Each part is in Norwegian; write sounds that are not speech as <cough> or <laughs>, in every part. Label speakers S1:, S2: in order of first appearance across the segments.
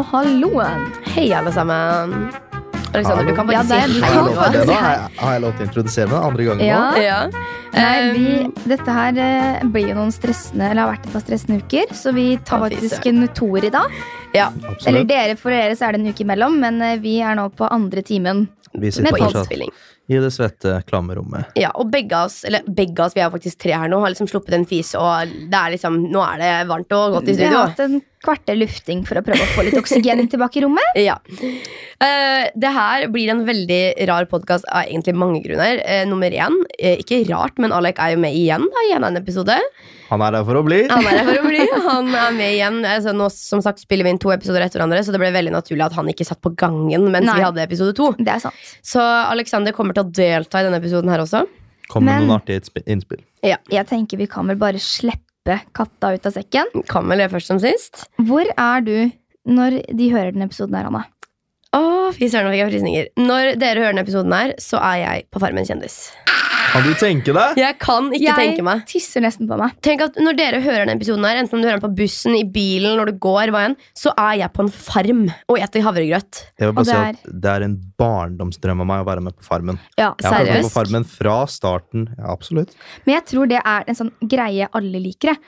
S1: Halloen! Hei, alle sammen. Alexander, du kan bare
S2: Ja, det er-
S1: si
S2: du
S1: hei.
S2: kan
S1: nå.
S2: bare-
S3: Ok, da har jeg, har jeg lov til å introdusere meg andre gangen
S1: Ja.
S3: nå?
S1: ja.
S2: Nei,
S1: Um,
S2: vi, dette her eh, blir jo noen stressende Eller har vært et par stressende uker Så vi tar
S1: Å, fy
S2: faktisk en toer i dag
S1: ja.
S2: Eller
S3: Absolutt.
S2: dere, for dere så er det en uke imellom Men eh, vi er nå på andre timen
S3: Vi
S2: med
S3: sitter
S1: På
S3: fortsatt
S1: innspilling.
S3: i det svette klammerommet.
S1: Ja, og begge av oss, eller begge av oss, vi er jo faktisk tre her nå, har liksom sluppet en fis, og det er liksom, nå er det varmt og godt i
S2: Vi
S1: studio.
S2: har hatt en kvarte lufting for å prøve å få litt oksygen tilbake i rommet
S1: Ja. Eh, det her blir en veldig rar podkast av egentlig mange grunner. Eh, nummer én, eh, ikke rart, men Alek er jo med igjen da, i en annen episode.
S3: Han er der for å bli.
S1: Han er her for å bli. <laughs> Han er med igjen. Altså, nå som sagt spiller vi inn to episoder etter hverandre, så det ble veldig naturlig at han ikke satt på gangen mens
S2: Nei.
S1: vi hadde episode to.
S2: Det er sant
S1: Så Alexander kommer til å delta i denne episoden her også.
S3: Kom med
S2: Men-
S3: noen artige innsp- innspill.
S2: Jeg tenker vi kan vel bare slippe katta ut av sekken
S1: Kan vel det først som sist.
S2: Hvor er du når de hører den episoden her, Anna?
S1: Å, fy søren, nå fikk jeg frysninger. Når dere hører denne episoden her, så er jeg på Farmen kjendis.
S3: Kan du tenke deg?
S1: Jeg kan ikke
S2: jeg
S1: tenke meg.
S2: tisser nesten på meg
S1: Tenk at Når dere hører denne episoden, her enten om du hører den på bussen, i bilen, når du går, hva enn, så er jeg på en farm og eter havregrøt.
S3: Jeg vil
S2: Og
S3: bare si
S2: det
S3: at Det er en barndomsdrøm av meg å være med på Farmen.
S1: Ja,
S3: Jeg har vært med
S1: seriøst.
S3: på Farmen fra starten. Ja, absolutt.
S2: Men jeg tror det er en sånn greie alle liker. jeg.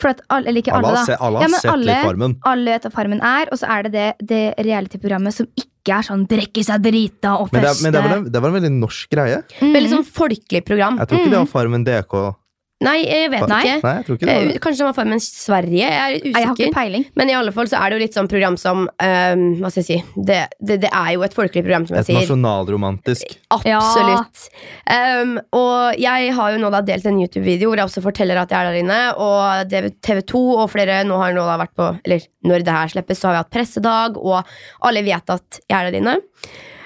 S2: For at alle, eller ikke
S3: Alle
S2: alle,
S3: har,
S2: da.
S3: se, alle
S2: Ja,
S3: har
S2: men
S3: sett litt Farmen.
S2: alle vet hva Farmen er, og så er det det, det reality-programmet som ikke er sånn drikke seg drita og
S3: Men det, er-
S2: feste.
S3: men det, var en, det var en veldig norsk greie.
S1: Veldig
S2: Mhm.
S1: sånn folkelig program.
S3: Jeg tror ikke det var Farmen DK.
S1: Nei, jeg vet
S3: Nei.
S1: ikke.
S3: Nei, jeg tror ikke det var
S1: Eh,
S3: det.
S1: Kanskje det var Farmen Sverige? Jeg
S2: Nei,
S1: er
S2: jeg har
S1: usikker.
S2: ikke peiling.
S1: Men i alle fall så er det jo litt sånn program som ehm, Hva skal jeg si? Det, det, det er jo et folkelig program, som jeg
S3: Et
S1: sier.
S3: nasjonalromantisk.
S1: Absolutt. Ehm, og jeg har jo nå da delt en YouTube-video hvor jeg også forteller at jeg er der inne. Og TV2 og flere nå har nå da vært på Eller når det her slippes, så har vi hatt pressedag, og alle vet at jeg er der inne.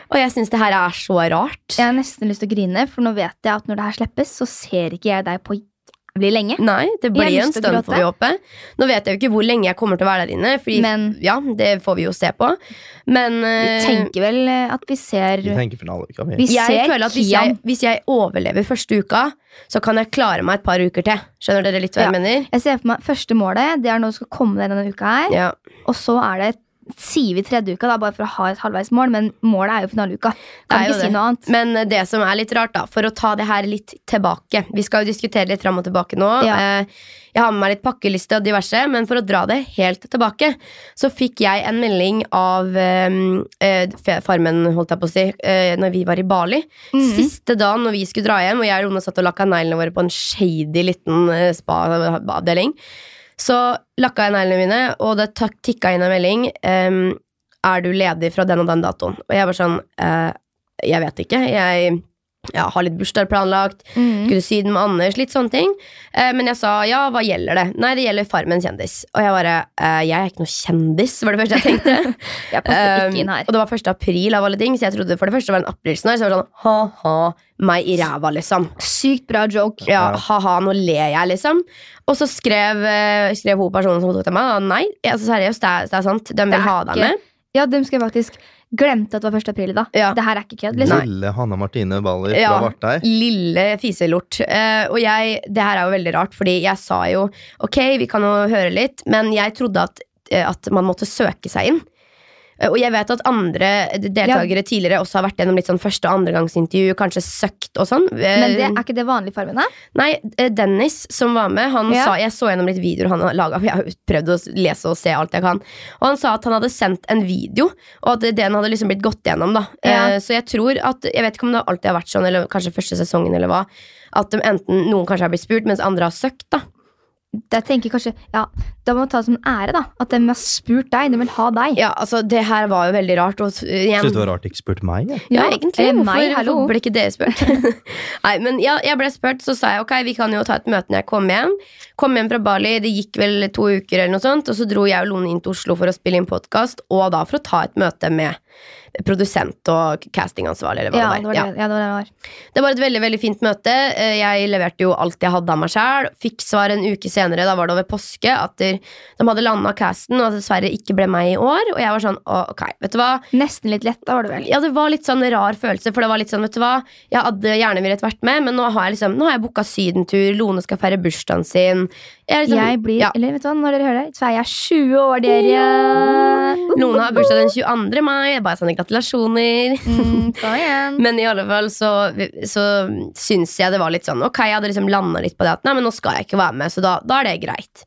S1: Og jeg syns det her er så rart.
S2: Jeg har nesten lyst til å grine, for nå vet jeg at når det her slippes, så ser ikke jeg deg på jævlig lenge.
S1: Nei,
S2: Jeg
S1: det
S2: har
S1: blir en
S2: lyst til å
S1: stund,
S2: gråte.
S1: får vi håpe. Nå vet jeg jo ikke hvor lenge jeg kommer til å være der inne, Fordi,
S2: Men-
S1: ja, det får vi jo se på. Men
S2: Vi
S1: eh,
S2: tenker vel eh, at vi ser
S3: Vi tenker finale, ikke vi?
S2: Vi
S1: jeg
S2: ser
S1: føler at hvis jeg,
S2: Kian.
S1: hvis jeg overlever første uka, så kan jeg klare meg et par uker til. Skjønner dere litt hva jeg
S2: Ja.
S1: mener?
S2: Jeg ser for meg første målet, det er når du skal komme deg denne uka her.
S1: Ja.
S2: Og så er det sier vi tredje uka, da, bare for å ha et halvveis mål, men målet er jo finaleuka.
S1: Det er
S2: Kan
S1: jo
S2: ikke si
S1: det.
S2: noe annet.
S1: Men det som er litt rart, da, for å ta det her litt tilbake Vi skal jo diskutere litt fram og tilbake nå.
S2: Ja.
S1: Eh, Jeg har med meg litt pakkeliste og diverse, men for å dra det helt tilbake, så fikk jeg en melding av eh, eh, fe- Farmen, holdt jeg på å si, eh, når vi var i Bali.
S2: Mhm.
S1: Siste dagen når vi skulle dra hjem, og jeg og Rone satt og lakka neglene våre på en shady liten eh, spa-avdeling, så lakka jeg neglene mine, og det tak- tikka inn en melding. ehm, er du ledig fra den og den datoen? Og jeg var sånn eh, jeg vet ikke. Jeg, ja, har litt bursdag planlagt.
S2: Mhm.
S1: Skulle til Syden med Anders, litt sånne ting. Eh, men jeg sa ja, hva gjelder det? Nei, det gjelder Farmen kjendis. Og jeg bare eh, jeg er ikke noe kjendis, var det første jeg tenkte.
S2: Jeg passer ikke
S1: Eh,
S2: inn her.
S1: og det var 1. april av alle ting, så jeg trodde for det første det var en aprilsnarr. Så jeg var sånn ha-ha, meg i ræva, liksom.
S2: Sykt bra joke.
S1: Ja,
S3: Ja.
S1: ha-ha, nå ler jeg, liksom. Og så skrev, eh, skrev hun personen som tok til meg, da, nei, altså, seriøst, det er, det er sant. De
S2: Det er
S1: vil ha deg
S2: ikke-
S1: med.
S2: Ja, dem skal jeg faktisk Glemte at det var 1. april i dag.
S1: Ja.
S2: Det her er ikke kødd. Liksom.
S3: Lille Hanna Martine Baller fra
S1: Ja.
S3: Vartei.
S1: Lille fiselort. Eh, og jeg, det her er jo veldig rart, fordi jeg sa jo ok, vi kan jo høre litt, men jeg trodde at, eh, at man måtte søke seg inn. Eh, Og jeg vet at andre deltakere tidligere også har vært gjennom litt sånn første- og andregangsintervju, kanskje søkt og sånn. Eh,
S2: Men det, er ikke det vanlige farmen? da?
S1: Nei, eh, Dennis som var med, han
S2: Ja.
S1: sa, jeg så gjennom litt videoer han har laga. Jeg har jo prøvd å s- lese og se alt jeg kan. Og han sa at han hadde sendt en video, og at den hadde liksom blitt gått gjennom. da
S2: Ja.
S1: eh, Så jeg tror at Jeg vet ikke om det alltid har vært sånn, eller kanskje første sesongen, eller hva. At de enten noen kanskje har blitt spurt, mens andre har søkt. da
S2: Det tenker jeg kanskje ja, Da må man ta det som en ære, da. At de har spurt deg. De vil ha deg.
S1: Ja, altså Det her var jo veldig rart. Og s- igjen,
S3: Syns det var rart de ikke spurte meg? Jeg.
S1: Ja,
S2: Ja,
S1: egentlig.
S2: eh,
S1: Hvorfor,
S2: nei, hallo.
S1: hvorfor ble ikke dere spurt? nei, men ja, jeg ble spurt, så sa jeg ok, vi kan jo ta et møte når jeg kommer hjem. Kom hjem fra Bali, det gikk vel to uker eller noe sånt, og så dro jeg og Lone inn til Oslo for å spille inn podkast, og da for å ta et møte med produsent og castingansvarlig, eller hva
S2: Ja,
S1: det
S2: det var
S1: var.
S2: det,
S1: Ja.
S2: ja. det var det det var.
S1: Det var et veldig veldig fint møte. Eh, Jeg leverte jo alt jeg hadde av meg sjæl. Fikk svar en uke senere, da var det over påske, at der- de hadde landa casten, og at det dessverre ikke ble meg i år. Og jeg var sånn, «Å, ok, vet du hva.
S2: Nesten litt lett, da var det vel.
S1: Ja, det var litt sånn rar følelse, for det var litt sånn, vet du hva. Jeg hadde gjerne villet vært med, men nå har jeg liksom, nå har jeg booka sydentur, Lone skal feire bursdagen sin. Jeg, er liksom,
S2: Jeg blir,
S1: ja.
S2: eller vet du hva, når dere hører det, så er jeg 20 år, dere.
S1: Lone har bursdag den 22. mai. Jeg bare
S2: <laughs>
S1: sånn, gratulasjoner.
S2: Mm, kom igjen.
S1: Men i alle fall så, så syns jeg det var litt sånn Ok, jeg hadde liksom landa litt på det at nei, men nå skal jeg ikke være med, så da, da er det greit.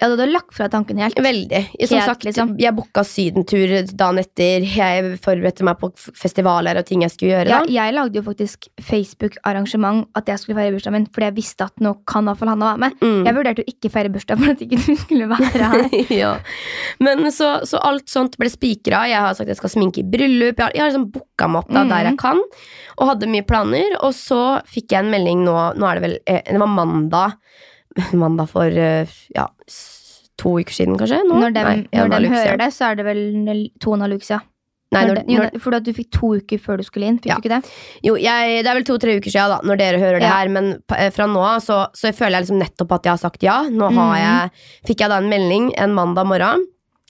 S2: Ja, du hadde lagt fra tanken helt.
S1: Veldig. Som
S2: Helt,
S1: sagt,
S2: liksom.
S1: jeg booka sydentur dagen etter. Jeg forberedte meg på f- festivaler og ting jeg skulle gjøre.
S2: Ja,
S1: Da.
S2: jeg lagde jo faktisk Facebook-arrangement at jeg skulle feire bursdagen min, fordi jeg visste at nå kan i hvert fall Hanna være med.
S1: Mm.
S2: Jeg vurderte jo ikke feire bursdag for at ikke du skulle
S1: <laughs>
S2: være her.
S1: ja. Men så, så alt sånt ble spikra. Jeg har sagt jeg skal sminke i bryllup. Jeg har, jeg har liksom booka meg opp da,
S2: Mm.
S1: der jeg kan, og hadde mye planer. Og så fikk jeg en melding nå, nå er det vel eh, Det var mandag. <laughs> Mandag for eh, ja, s- to uker siden, kanskje? Nå?
S2: Når de,
S1: Nei, en og en
S2: når
S1: halv
S2: de
S1: uke
S2: hører
S1: siden.
S2: det, så er det vel null- to og en halv uke siden.
S1: Nei,
S2: Når
S1: når,
S2: de- jo,
S1: når,
S2: ne- fordi at du fikk to uker før du skulle inn, fikk
S1: Ja.
S2: du ikke det?
S1: jo, jeg, det er vel to-tre uker siden da, når dere hører det
S2: Ja.
S1: her, men pa- eh, fra nå av så, så føler jeg liksom nettopp at jeg har sagt ja. Nå har
S2: Mhm.
S1: jeg, fikk jeg da en melding en mandag morgen.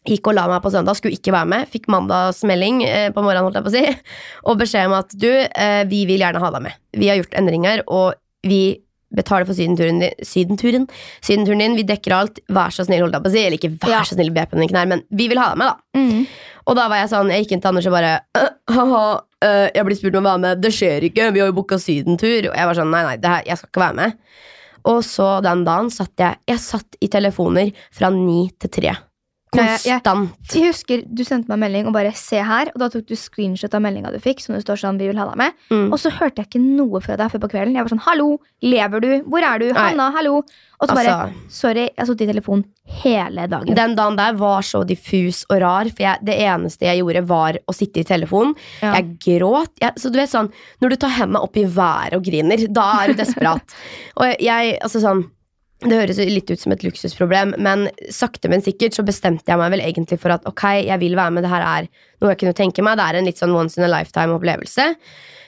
S1: Gikk og la meg på søndag, skulle ikke være med. Fikk mandagsmelding eh, på morgenen, holdt jeg på å si. <laughs> Og beskjed om at du, eh, vi vil gjerne ha deg med. Vi har gjort endringer, og vi betaler for sydenturen din. Sydenturen, sydenturen din vi dekker alt. Vær så snill, holdt jeg på å si. Eller ikke vær
S2: Ja.
S1: så snill, be på den ikke nær, men vi vil ha deg med, da.
S2: Mm.
S1: Og da var jeg sånn, jeg gikk inn til Anders og bare «Øh, Haha, øh, jeg blir spurt om å være med Det skjer ikke, vi har jo boket sydentur Og jeg var sånn, nei, nei, det her, jeg skal ikke være med Og så den dagen satt jeg Jeg satt i telefoner fra 9 til 3
S2: Nei, jeg-
S1: Konstant
S2: Jeg husker du sendte meg en melding og bare 'se her', og da tok du screenshot av meldinga du fikk, som det står sånn 'vi vil ha deg med',
S1: Mm.
S2: og så hørte jeg ikke noe fra deg før på kvelden. Jeg var sånn 'hallo, lever du? Hvor er du?
S1: Nei.
S2: Hanna, hallo?' Og så bare
S1: Altså,
S2: 'sorry, jeg har sittet i telefonen hele dagen'.
S1: den dagen der var så diffus og rar For jeg, det eneste jeg gjorde var å sitte i telefonen
S2: Ja.
S1: Jeg gråt jeg, Så du vet sånn, når du tar hendene opp i været og griner <laughs> Da er du desperat Og jeg, altså sånn det høres jo litt ut som et luksusproblem, men sakte, men sikkert så bestemte jeg meg vel egentlig for at ok, jeg vil være med, det her er noe jeg kunne tenke meg, det er en litt sånn once in a lifetime-opplevelse.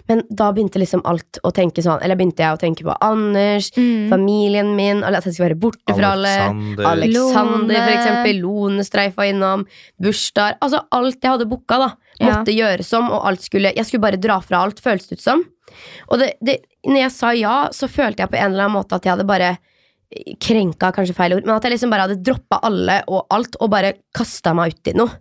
S1: Men da begynte liksom alt å tenke sånn, eller begynte jeg å tenke på Anders,
S2: Mm.
S1: familien min, alle- at jeg skulle være borte fra alle.
S3: Alexander.
S1: Alexander, for
S2: Lone.
S1: eksempel. Lone streifa innom. Bursdager. Altså, alt jeg hadde booka, da, måtte gjøres om, og alt skulle Jeg skulle bare dra fra alt, føles det ut som. Og det, det, når jeg sa ja, så følte jeg på en eller annen måte at jeg hadde bare Krenka er kanskje feil ord, men at jeg liksom bare hadde droppa alle og alt og bare kasta meg uti noe.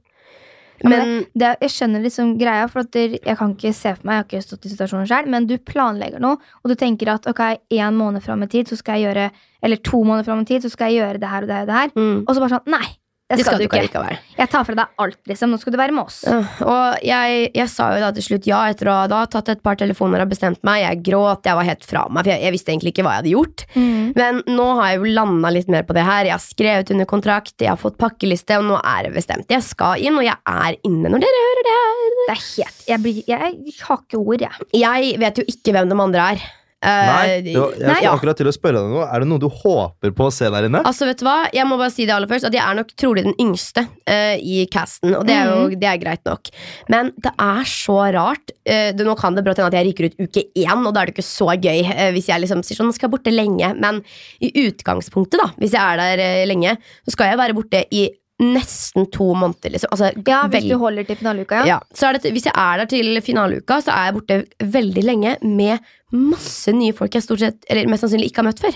S2: Ja,
S1: Men
S2: men Det, jeg skjønner liksom greia, for at der, jeg kan ikke se for meg, jeg har ikke stått i situasjonen selv, men du planlegger noe, og du tenker at ok, en måned frem i tid, så skal jeg gjøre, eller to måneder frem i tid, så skal jeg gjøre det her og det her og det her,
S1: mm,
S2: og så bare sånn, nei, det
S1: det
S2: skal, du ikke.
S1: likevel.
S2: Jeg tar fra deg alt, liksom, nå skal du være med oss.
S1: Ja, Og jeg, jeg sa jo da til slutt ja etter å ha da tatt et par telefoner og bestemt meg. Jeg gråt, jeg var helt fra meg, for jeg, jeg visste egentlig ikke hva jeg hadde gjort.
S2: Mm.
S1: Men nå har jeg jo landa litt mer på det her. Jeg har skrevet under kontrakt, jeg har fått pakkeliste, og nå er det bestemt. Jeg skal inn, og jeg er inne når dere hører det her.
S2: Det er helt, jeg, blir, jeg har ikke ord, jeg.
S1: Jeg vet jo ikke hvem de andre er.
S3: Nei,
S1: Eh,
S3: det var, jeg
S1: nei,
S3: skulle
S1: ja.
S3: akkurat til å spørre deg noe. Er det noe du håper på å se der inne?
S1: Altså, vet du hva? Jeg må bare si det aller først, at jeg er nok trolig den yngste eh, i casten, og det er jo
S2: Mhm.
S1: det er greit nok. Men det er så rart. Eh, det, nå kan det brått hende at jeg ryker ut uke én, og da er det ikke så gøy eh, hvis jeg liksom sier sånn, nå skal jeg borte lenge. Men i utgangspunktet, da, hvis jeg er der eh, lenge, så skal jeg være borte i nesten to måneder, liksom. Altså,
S2: Ja, hvis
S1: veldig-
S2: du holder til finaleuka, ja.
S1: ja. Så er det, hvis jeg er der til finaleuka, så er jeg borte veldig lenge med masse nye folk jeg stort sett, eller mest sannsynlig ikke har møtt før.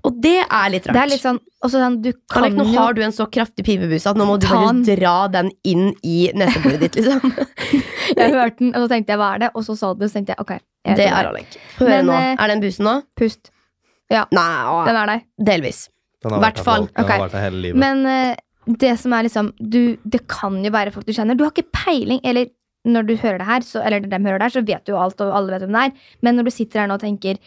S1: Og det er litt rart.
S2: Det er litt sånn, og så sånn, du kan
S1: Alek, nå
S2: jo...
S1: har du en så kraftig pipebuse at nå må du
S2: Ta
S1: bare
S2: den.
S1: dra den inn i nesebordet ditt, <laughs> liksom.
S2: <laughs> Jeg hørte den, og så tenkte jeg, hva er det? Og så sa du det, så tenkte jeg, ok, jeg
S1: Det
S2: tror
S1: er Alek. Få høre
S2: Men,
S1: nå.
S2: eh,
S1: Er den busen nå?
S2: Pust.
S1: Nei, å,
S2: Den er der.
S1: delvis.
S3: Den har
S1: hvert
S3: vært her
S1: fall,
S3: for- Den har
S2: ok.
S3: vært her hele livet.
S2: Men eh, det som er liksom du, Det kan jo være folk du kjenner. Du har ikke peiling. Eller når du hører det her, så, eller når dem hører det her, så vet du jo alt, og alle vet hvem det er. Men når du sitter her nå og tenker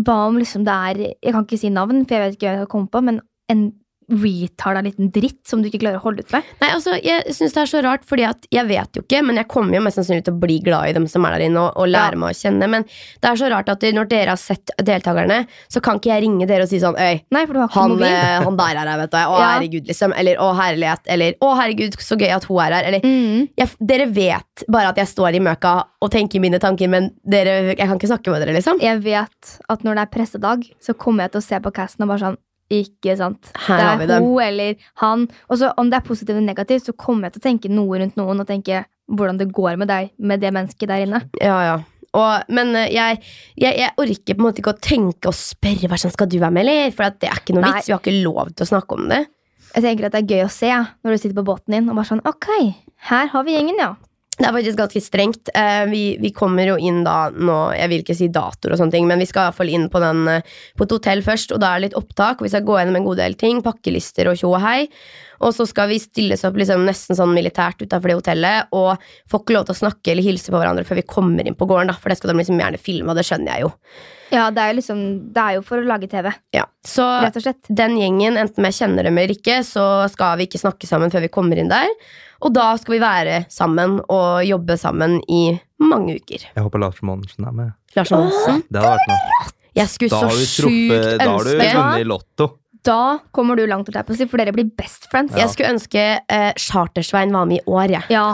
S2: Hva om liksom det er Jeg kan ikke si navn, for jeg vet ikke hva jeg skal komme på, men en retar deg en liten dritt som du ikke klarer å holde ut med.
S1: Nei, altså, jeg synes det er så rart, fordi at jeg vet jo ikke, men jeg kommer jo mest sannsynlig til å bli glad i dem som er der inne, og, og lære
S2: Ja.
S1: meg å kjenne. Men det er så rart at når dere har sett deltakerne, så kan ikke jeg ringe dere og si sånn Øy,
S2: Nei, for du har ikke
S1: han,
S2: mobil.
S1: eh, han der er her, vet du. <laughs> Å,
S2: Ja.
S1: herregud, liksom. Eller å, herlighet. Eller å, herregud, så gøy at hun er her. Eller
S2: Mm.
S1: jeg, Dere vet bare at jeg står i møka og tenker mine tanker, men dere, jeg kan ikke snakke med dere, liksom.
S2: Jeg vet at når det er pressedag, så kommer jeg til å se på casten og bare sånn Ikke sant.
S1: Her har vi
S2: det er
S1: dem.
S2: hun eller han. Og så om det er positivt eller negativt, så kommer jeg til å tenke noe rundt noen og tenke hvordan det går med deg med det mennesket der inne.
S1: Ja, ja. Og, men eh, jeg, jeg, jeg orker på en måte ikke å tenke og spørre hva sånn skal du være med, eller? For at det er ikke noe
S2: Nei.
S1: vits. Vi har ikke lov til å snakke om det.
S2: Jeg tenker at det er gøy å se ja, når du sitter på båten din og bare sånn Ok, her har vi gjengen, ja.
S1: Det er faktisk ganske strengt. Eh, vi, vi kommer jo inn da nå, jeg vil ikke si datoer og sånne ting, men vi skal i hvert fall inn på, den, eh, på et hotell først, og da er det litt opptak. og Vi skal gå gjennom en god del ting, pakkelister og tjo og hei. Og så skal vi stilles opp liksom nesten sånn militært utafor det hotellet, og får ikke lov til å snakke eller hilse på hverandre før vi kommer inn på gården, da, for det skal de liksom gjerne filme, og det skjønner jeg jo.
S2: Ja, det er jo liksom Det er jo for å lage TV,
S1: Ja. Så
S2: rett og slett.
S1: den gjengen, enten jeg kjenner dem eller ikke, så skal vi ikke snakke sammen før vi kommer inn der. Og da skal vi være sammen og jobbe sammen i mange uker.
S3: Jeg håper Lars Monsen er med.
S1: Lars Monsen.
S3: Det hadde vært noe.
S1: Jeg skulle
S3: Da har
S1: så
S3: du
S1: sjukt
S3: truffet Da har du
S1: ønske
S3: vunnet i Lotto.
S2: Da kommer du langt, holdt jeg på å si, for dere blir best friends.
S1: Jeg skulle ønske eh, Chartersvein var med i år, jeg.
S2: Ja,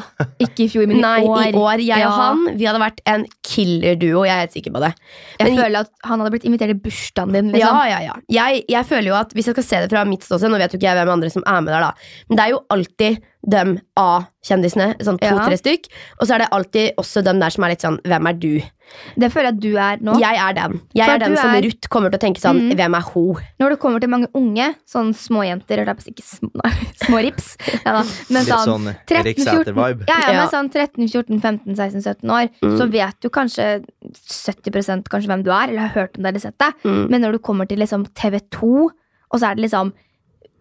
S2: ikke i fjor, men i
S1: <laughs> Nei,
S2: år.
S1: i år. Jeg
S2: Ja.
S1: og han vi hadde vært en killer-duo. Jeg er helt sikker på det.
S2: Jeg
S1: Men-
S2: føler at han hadde blitt invitert i bursdagen din. Liksom.
S1: Ja, ja, ja. Jeg, jeg føler jo at Hvis jeg skal se det fra mitt ståsted Nå vet jo ikke jeg hvem andre som er med der, da. Men det er jo alltid dem A-kjendisene. Sånn
S2: Ja.
S1: to-tre stykk. Og så er det alltid også dem der som er litt sånn Hvem er du?
S2: Det føler jeg at du er nå.
S1: Jeg er den. Jeg
S2: For
S1: er den
S2: du
S1: som
S2: er-
S1: Ruth kommer til å tenke sånn
S2: Mhm.
S1: Hvem er hun?
S2: Når det kommer til mange unge, sånn småjenter eller ikke sm- <laughs> nei, små rips ja, da, men
S3: Litt
S2: sånn,
S3: sånn Erik
S2: 13-14
S3: Sæther-vibe.
S2: ja, ja,
S1: Ja.
S2: men sånn 13-14-15-16-17 år,
S1: Mm.
S2: så vet du kanskje 70 kanskje hvem du er, eller har hørt om deg eller sett deg.
S1: Mm.
S2: Men når du kommer til liksom TV2, og så er det liksom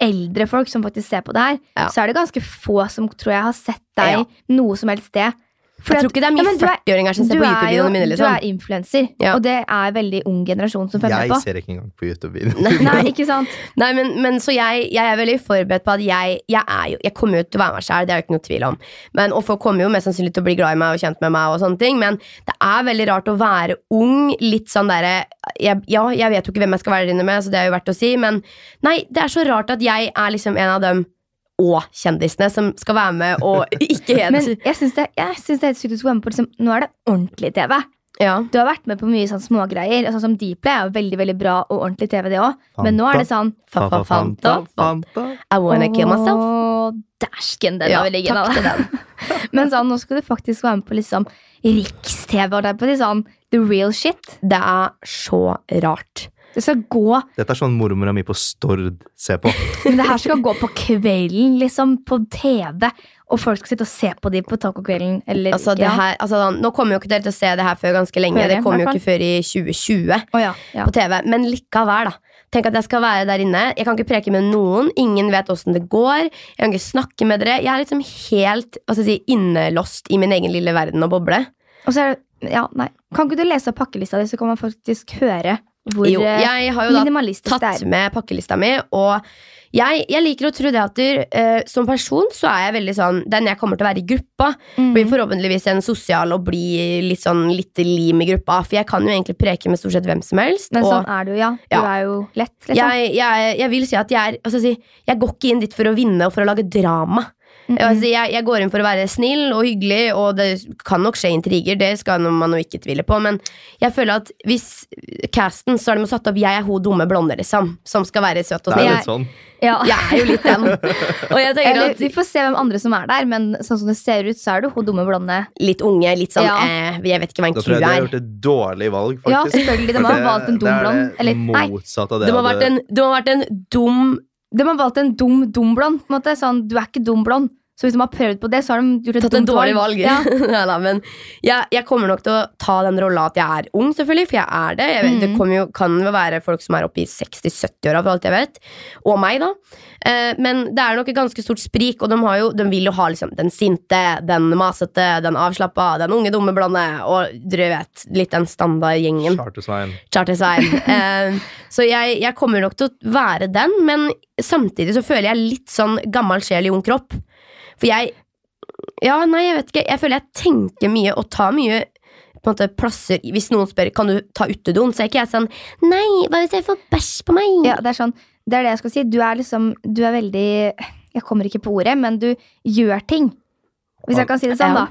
S2: eldre folk som faktisk ser på det her,
S1: Ja.
S2: så er det ganske få som tror jeg har sett deg
S1: Ja.
S2: noe som helst sted. For
S1: Jeg
S2: at-
S1: tror ikke det er
S2: Ja,
S1: mye
S2: men du er-
S1: 40-åringer som ser
S2: du
S1: på
S2: er jo-
S1: YouTube-videoene mine.
S2: Du
S1: liksom
S2: er influenser,
S1: Ja.
S2: og det er veldig ung generasjon som følger med
S3: Jeg
S2: på.
S3: ser ikke engang på
S2: <laughs>
S3: YouTube-videoen.
S2: Nei, ikke
S1: <laughs>
S2: sant?
S1: Nei, men, men Så jeg, jeg er veldig forberedt på at jeg, jeg er jo Jeg kommer jo til å være meg sjæl, det er jo ikke noe tvil om. Men, og folk kommer jo mest sannsynlig til å bli glad i meg og kjent med meg, og sånne ting men det er veldig rart å være ung. Litt sånn derre jeg, Ja, jeg vet jo ikke hvem jeg skal være der inne med, så det er jo verdt å si, men nei, det er så rart at jeg er liksom en av dem og kjendisene som skal være med <laughs> og ikke
S2: Men
S1: helt
S2: jeg syns det, jeg synes det er helt sykt at du skal være med på liksom, Nå er det ordentlig TV.
S1: ja.
S2: Du har vært med på mye sånn smågreier. og Sånn som Deeply er jo veldig veldig bra og ordentlig TV, det òg. Men nå er det sånn
S1: Fa, fa,
S3: Fanta,
S1: fanta, fa-
S3: fanta.
S1: I wanna kill myself.
S2: Åh, Dæsken, den
S1: Ja,
S2: var liggen
S1: takk
S2: av deg. Men sånn, nå skal du faktisk være med på liksom Riks-TV og det er på litt sånn the real shit.
S1: Det er så rart.
S2: Det skal gå,
S3: Dette er sånn mormora mi på Stord ser på.
S2: men det her skal gå på kvelden, liksom. På TV. Og folk skal sitte og se på de på tacokvelden. Eller
S1: Altså, det
S2: ja.
S1: her, altså, da- nå kommer jo ikke dere til å se det her før ganske lenge.
S2: Hører,
S1: det kommer jo
S2: hvertfall.
S1: ikke før i 2020
S2: Å ja, ja.
S1: på TV. Men likevel, da. Tenk at jeg skal være der inne. Jeg kan ikke preke med noen. Ingen vet åssen det går. Jeg kan ikke snakke med dere. Jeg er liksom helt hva skal jeg si, innelåst i min egen lille verden og boble.
S2: Og så er det, ja, nei. Kan ikke du lese opp pakkelista di, så kan man faktisk høre hvor
S1: Jo,
S2: eh,
S1: jeg har jo da
S2: minimalistisk det
S1: tatt
S2: er.
S1: med pakkelista mi. Og jeg, jeg liker å tro det at eh, som person så er jeg veldig sånn den jeg kommer til å være i gruppa. Blir
S2: Mm.
S1: forhåpentligvis en sosial og bli litt sånn litt lim i gruppa. For jeg kan jo egentlig preke med stort sett hvem som helst.
S2: Men
S1: og
S2: sånn er du, ja. Du
S1: Ja.
S2: er jo lett. Liksom.
S1: jeg, jeg, jeg vil si at jeg er altså, si, Jeg går ikke inn dit for å vinne og for å lage drama.
S2: Mm, mm.
S1: Altså, jeg, jeg går inn for å være snill og hyggelig, og det kan nok skje intriger, det skal man jo ikke tvile på, men jeg føler at hvis casten så har de jo satt opp 'jeg er hun dumme blonde', liksom, som skal være søt og
S3: Det er
S1: snill.
S3: litt sånn.
S2: Ja.
S1: Jeg er jo litt
S3: <laughs>
S1: den. Og jeg tenker
S2: Eller,
S1: at
S2: vi får se hvem andre som er der, men sånn som det ser ut, så er du hun dumme blonde.
S1: litt unge, litt sånn
S2: Ja.
S1: eh, Jeg vet ikke hva en
S3: Da
S1: ku
S3: tror jeg de har
S1: er.
S3: gjort et dårlig valg,
S2: Ja,
S3: faktisk.
S2: selvfølgelig. De
S3: For
S2: må ha
S3: det-
S2: valgt en
S3: det
S2: dum
S3: er
S2: blond.
S3: det
S2: Eller, nei,
S3: motsatte av det
S1: Det må ha
S3: jeg
S1: vært en, det må ha vært en dum
S2: de må ha valgt en dum dum blond. På en måte. Sånn, du er ikke dum blond. Så hvis de har prøvd på det, så har de gjort et
S1: Tatt en
S2: dumt
S1: dårlig valg.
S2: Ja.
S1: <laughs> Nei da, men jeg, jeg kommer nok til å ta den rolla at jeg er ung, selvfølgelig, for jeg er det. Jeg vet, Det
S2: Mm.
S1: kommer jo, kan jo være folk som er oppe i 60-70-åra, for alt jeg vet. Og meg, da. Eh, men det er nok et ganske stort sprik, og de, har jo, de vil jo ha liksom, den sinte, den masete, den avslappa, den unge dumme blonde, og dere vet, litt den standardgjengen.
S3: Charter-Svein.
S2: <laughs>
S1: Charter-Svein. Eh, så jeg, jeg kommer nok til å være den, men samtidig så føler jeg litt sånn gammel sjel i ung kropp. For jeg Ja, nei, jeg vet ikke. Jeg føler jeg tenker mye og tar mye på en måte plasser i- Hvis noen spør kan du ta utedoen, så er ikke jeg sånn Nei, hva hvis jeg får bæsj på meg?
S2: Ja, det er sånn, det er det jeg skal si. Du er liksom, du er veldig Jeg kommer ikke på ordet, men du gjør ting. Hvis jeg kan si det sånn,
S1: Ja.
S2: da.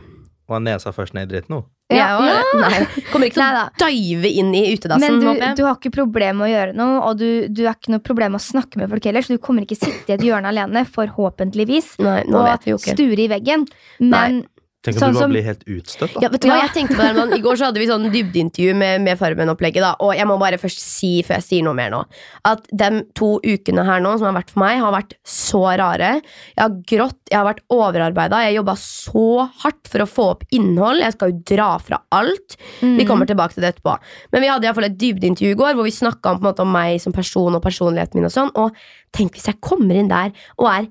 S3: Og han nesa først ned i dritten nå.
S1: Jeg og-
S2: Ja.
S1: Nei, kommer ikke til å dive inn i
S2: Men
S1: utedassen,
S2: du,
S1: sånn håper jeg.
S2: du har ikke problem med å gjøre noe, og du, du er ikke noe problem med å snakke med folk heller, så du kommer ikke sitte i et hjørne alene, forhåpentligvis,
S1: Nei, nå
S2: og
S1: vet vi jo ikke.
S2: sture i veggen. Men
S3: Tenk om
S2: Sånn
S3: du bare
S2: som-
S3: blir helt utstøtt, da.
S1: Ja, vet du hva?
S2: Ja.
S1: Jeg tenkte på det, Herman. I går så hadde vi sånn dybdeintervju med, med Farmen-opplegget. da, Og jeg må bare først si før jeg sier noe mer nå, at de to ukene her nå som har vært for meg, har vært så rare. Jeg har grått, jeg har vært overarbeida, jeg jobba så hardt for å få opp innhold. Jeg skal jo dra fra alt.
S2: Mm.
S1: Vi kommer tilbake til det etterpå. Men vi hadde i hvert fall et dybdeintervju i går hvor vi snakka om, på en måte, om meg som person og personligheten min. Og sånn, og tenk hvis jeg kommer inn der og er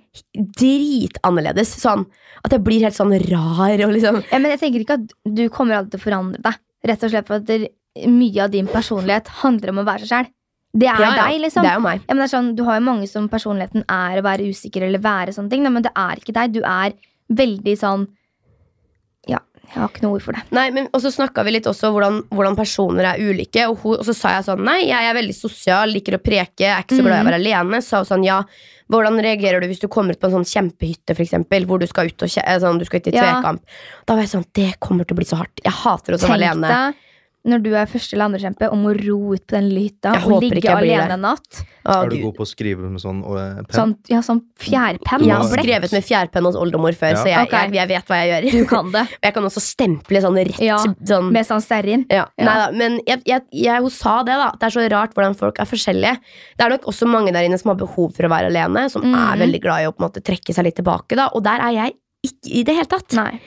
S1: dritannerledes. Sånn, at jeg blir helt sånn rar og liksom
S2: Ja, men jeg tenker ikke at du kommer alltid til å forandre deg. Rett og slett for at det, mye av din personlighet handler om å være seg selv. Det er
S1: Ja, ja.
S2: deg, liksom.
S1: Det er jo meg.
S2: Ja, men det er sånn, du har jo mange som personligheten er å være usikker eller være sånne ting, da, men det er ikke deg. Du er veldig sånn Ja, jeg har ikke noe ord for det.
S1: Nei, men, og så snakka vi litt også hvordan, hvordan personer er ulike. Og, hun, og så sa jeg sånn Nei, jeg er veldig sosial, liker å preke, er ikke så
S2: Mhm.
S1: glad i å være alene. Sa hun sånn Ja, hvordan reagerer du hvis du kommer ut på en sånn kjempehytte, for eksempel, hvor du skal ut og kje, eh, sånn, du skal ut i
S2: Ja.
S1: tvekamp? Da var jeg sånn Det kommer til å bli så hardt. Jeg hater å
S2: Tenk
S1: være alene.
S2: deg når du er første eller andrekjempe om å ro ut på den lille hytta
S1: Jeg
S2: og
S1: håper ikke
S2: ligge
S1: jeg blir der.
S2: alene en natt.
S1: Å,
S3: Er du
S1: Gud.
S3: god på å skrive med sånn og, eh, penn?
S2: Sånn, ja, sånn fjærpenn
S1: Jeg
S3: Ja,
S1: har
S2: og blekk.
S1: skrevet med fjærpenn hos oldemor før,
S3: Ja.
S1: så jeg,
S2: Ok.
S1: jeg, jeg vet hva jeg gjør.
S2: Du kan det.
S1: Og jeg kan også stemple sånn rett
S2: Ja,
S1: sånn,
S2: Med sånn stearin.
S1: Ja,
S2: Ja.
S1: Neida, men jeg, jeg, jeg, hun sa det, da. at Det er så rart hvordan folk er forskjellige. Det er nok også mange der inne som har behov for å være alene, som
S2: Mhm.
S1: er veldig glad i å på en måte trekke seg litt tilbake. da Og der er jeg ikke i det hele tatt.
S2: Nei.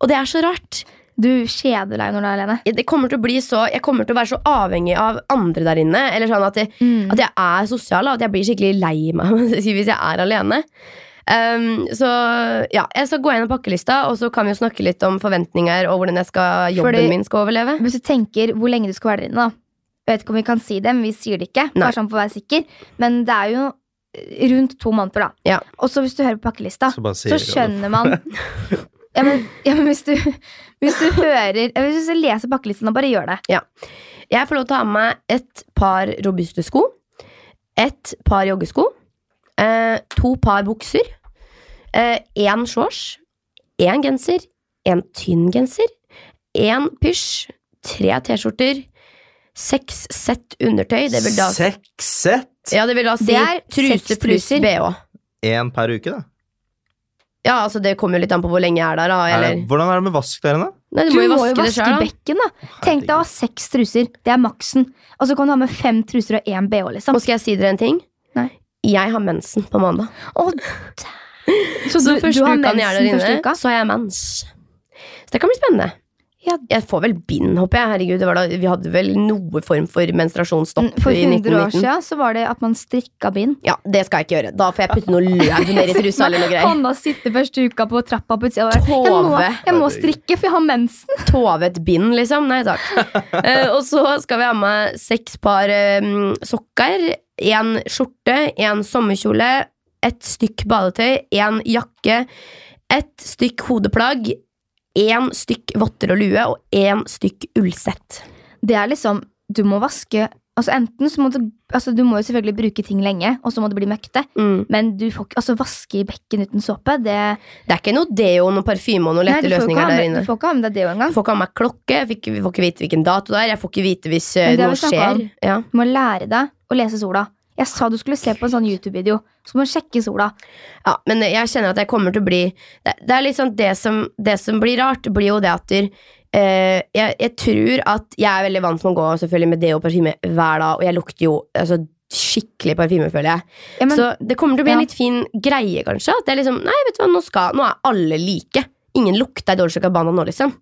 S1: Og det er så rart.
S2: Du kjeder deg når du er alene.
S1: Det kommer til å bli så, jeg kommer til å være så avhengig av andre der inne. Eller sånn at, jeg-
S2: Mm.
S1: at jeg er sosial, da, at jeg blir skikkelig lei meg <laughs> hvis jeg er alene. Um, så ja, jeg skal gå gjennom pakkelista, og så kan vi jo snakke litt om forventninger og hvordan jeg skal, jobben
S2: Fordi-
S1: min skal overleve.
S2: Hvis du tenker hvor lenge du skal være der inne, da. Jeg vet ikke om vi kan si det, men vi sier det ikke.
S1: Nei.
S2: Bare sånn for å være sikker. Men det er jo eh, rundt to måneder, da.
S1: Ja.
S2: Og så hvis du hører på pakkelista,
S3: Så bare sier
S2: så skjønner man ja, men, ja, men hvis du, hvis du hører ja, Hvis du leser pakkelisten, da bare gjør det.
S1: Jeg får lov til å ha med meg et par robuste sko, et par joggesko, eh, to par bukser, én eh, shorts, én genser, én tynn genser, én pysj, tre T-skjorter, seks sett undertøy. Det vil da,
S3: Seks sett?
S1: ja, det vil da si
S2: Det er
S1: truse
S2: seks
S1: pluss
S2: truser.
S1: bh.
S3: Én per uke, da?
S1: Ja, altså Det kommer jo litt an på hvor lenge jeg er der. Da,
S3: Er det,
S1: eller...
S3: Eh, hvordan er det med vask der inne?
S1: Nei, du, må jo vaske det
S2: i
S1: sjøl, da.
S2: bekken, da. Tenk deg å ha seks truser. Det er maksen. Og så kan du ha med fem truser og én bh, liksom.
S1: Og skal jeg si dere en ting?
S2: Nei.
S1: Jeg har mensen på mandag.
S2: Å,
S1: Så,
S2: du-
S1: første
S2: du har
S1: uka når jeg er der
S2: mensen første
S1: inne,
S2: uka?
S1: så har jeg mens. Så det kan bli spennende.
S2: Ja.
S1: Jeg får vel bind, håper jeg. Herregud, det var da, vi hadde vel noe form for menstruasjonsstopp
S2: for
S1: i
S2: 100 år
S1: 1919.
S2: siden så var det at man strikka bind.
S1: Ja, det skal jeg ikke gjøre. Da får jeg putte noe
S2: <laughs>
S1: løv ned i trusa eller noe greier.
S2: Hanna sitter første uka på trappa på utsida og er, jeg, må-
S1: Tove.
S2: jeg må strikke, for jeg har mensen.
S1: Tovet bind, liksom. Nei
S2: <laughs>
S1: takk. Eh, og så skal vi ha med seks par eh, sokker, én skjorte, én sommerkjole, ett stykk badetøy, én jakke, ett stykk hodeplagg, én stykk votter og lue og én stykk ullsett.
S2: Det er liksom, du må vaske Altså enten så må du altså Du må jo selvfølgelig bruke ting lenge, og så må det bli møkkete.
S1: Mm.
S2: Men du får ikke altså vaske i bekken uten såpe. Det,
S1: Det er ikke noe deo, noe parfyme og noen
S2: Nei,
S1: lette
S2: du, får ikke ha
S1: løsninger der
S2: med,
S1: inne.
S2: du får ikke ha med deg det engang.
S1: Jeg får ikke ha meg klokke, jeg fikk, får ikke vite hvilken dato det er, jeg får ikke vite hvis eh,
S2: Men det har
S1: noe
S2: vi snakket
S1: skjer.
S2: om.
S1: Ja.
S2: Du må lære deg å lese sola. Jeg sa du skulle se på en sånn YouTube-video. Så må du sjekke sola.
S1: ja, men jeg kjenner at jeg kommer til å bli Det, det er litt sånn det som, det som blir rart, blir jo det at du eh, jeg, jeg tror at jeg er veldig vant med å gå selvfølgelig med deo og parfyme hver dag, og jeg lukter jo altså, skikkelig parfyme, føler jeg.
S2: Ja, men,
S1: så det kommer til å bli en
S2: ja.
S1: litt fin greie, kanskje. At det er liksom Nei, vet du hva, nå, skal, nå er alle like. Ingen lukter Dolce Gabbana nå, liksom.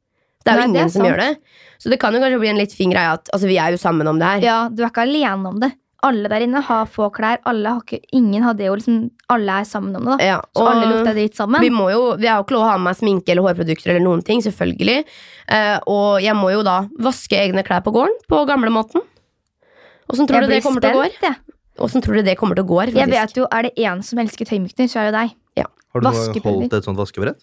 S1: Det er jo
S2: Nei, det
S1: ingen
S2: er
S1: som
S2: sant.
S1: gjør det. Så det kan jo kanskje bli en litt fin greie at Altså, vi er jo sammen om det her.
S2: ja, du er ikke alene om det. Alle der inne har få klær. Alle har ikke, ingen har det, og liksom, alle er sammen om det. da
S1: Ja,
S2: Så alle lukter dritt sammen.
S1: Vi, må jo, vi har jo ikke lov å ha med meg sminke eller hårprodukter eller noen ting, selvfølgelig. Eh, og jeg må jo da vaske egne klær på gården, på gamlemåten. Åssen tror
S2: Jeg
S1: du det
S2: blir
S1: kommer til å gå?
S2: spent, jeg.
S1: Åssen tror du det kommer til å gå? her,
S2: Jeg
S1: faktisk?
S2: vet jo, er det én som elsker tøymykner, så er det deg.
S3: Har du noe-
S2: Vaskepeller.
S3: holdt et
S2: <laughs>
S3: sånt vaskebrett?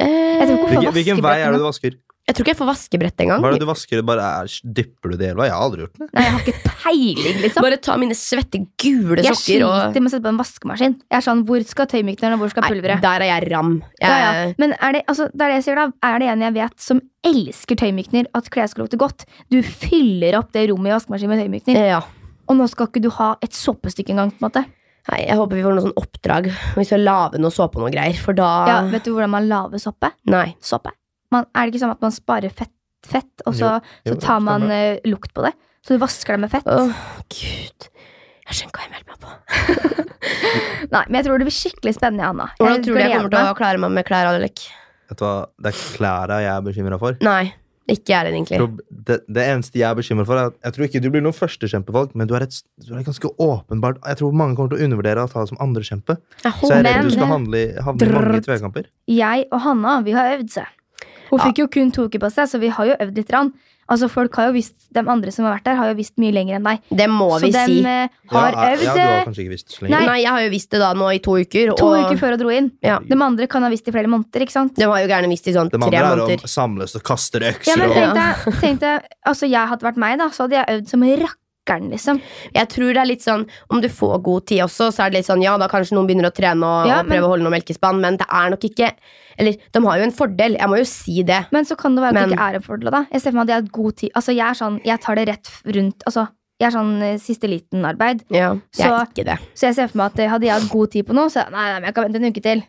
S1: Eh,
S2: Jeg
S1: jeg,
S2: tror
S1: tror
S2: ikke-
S3: Hvilken, hvilken vei
S2: vaskebrettet
S3: er det
S2: nå?
S3: du vasker?
S1: ikke jeg får vaskebrett engang.
S3: Hva er det du vasker? Bare er, dypper du det i elva? Jeg har aldri gjort det.
S2: Nei, jeg har ikke peiling, liksom.
S1: Bare ta mine svette, gule
S2: Jeg
S1: sokker
S2: sliter
S1: og
S2: med å sette på en vaskemaskin. Jeg er sånn, Hvor skal tøymykneren, og hvor skal
S1: Nei,
S2: pulveret?
S1: der er jeg ram. Jeg,
S2: Ja, ja. Men er det, altså, det er det jeg sier, da. Er det en jeg vet som elsker tøymykner, at klær skal lukte godt? Du fyller opp det rommet i vaskemaskinen med tøymykner,
S1: Eh, ja.
S2: og nå skal ikke du ha et såpestykke engang, på en måte.
S1: Nei, jeg håper vi får noe sånn oppdrag. Vi skal lage noe såpe og noe greier, for da
S2: Ja, vet du hvordan man lager såpe?
S1: Nei.
S2: Såpe. Man, er det ikke sånn at man sparer fett, fett og så,
S3: Jo,
S2: så tar man
S3: stemmer.
S2: eh, lukt på det? Så du vasker det med fett?
S1: Åh, gud. Jeg skjønner hva jeg meldte meg på.
S2: Nei, men jeg tror det blir skikkelig spennende, Anna.
S1: Hvordan tror du jeg
S2: gleder
S1: kommer til
S2: meg.
S1: å klare meg med klær, Alek?
S2: eh,
S3: Vet du hva? Det er klæra jeg er bekymra for.
S1: Nei. Ikke jeg heller, egentlig.
S3: Prob- Det, det eneste jeg er bekymret for, er at jeg tror ikke du blir noen førstekjempevalg, men du er, et, du er ganske åpenbart Jeg tror mange kommer til å undervurdere å ta deg som andrekjempe.
S1: Jeg
S3: Så jeg
S1: håper-
S3: er redd du
S2: men-
S3: skal handle, i- havne i mange
S2: Drrrt.
S3: tvekamper.
S2: Jeg og Hanna vi har øvd seg. Hun
S1: Ja.
S2: fikk jo kun to uker på seg, så vi har jo øvd litt. Rann. Altså, folk har jo visst, de andre som har vært der, har jo visst mye lenger enn deg.
S1: Det
S2: så
S1: må vi
S2: de
S1: si.
S2: eh, har
S3: ja,
S2: øvd
S3: ja, du har
S2: eh,
S3: kanskje ikke visst så
S1: Nei.
S3: lenge.
S1: jeg har jo visst det da nå i to uker.
S2: to
S1: og
S2: uker før hun dro inn.
S1: Ja.
S2: De andre kan ha visst i flere måneder. ikke sant?
S1: De har jo gjerne visst i sånn
S3: De
S1: tre
S3: andre er om
S1: måneder.
S3: samles og kaster økser
S2: Ja, men
S3: og
S2: tenk deg, tenk deg, altså jeg hadde vært meg, da, så hadde jeg øvd som rakkeren, liksom.
S1: Jeg tror det er litt sånn, Om du får god tid også, så er det litt sånn ja, da kanskje noen begynner å trene og,
S2: Ja,
S1: og
S2: men-
S1: prøve å holde noe melkespann, men det er nok ikke Eller de har jo en fordel, jeg må jo si det.
S2: Men så kan det være at
S1: Men-
S2: det ikke er en fordel. da. Jeg ser for meg at jeg har hatt god tid. Altså, Jeg er sånn, jeg tar det rett f- rundt altså, Jeg er sånn eh, siste liten-arbeid.
S1: Ja, jeg
S2: Så-
S1: er ikke det.
S2: Så jeg ser for meg at eh, hadde jeg hatt god tid på noe, så nei, nei, men jeg kan vente en uke til.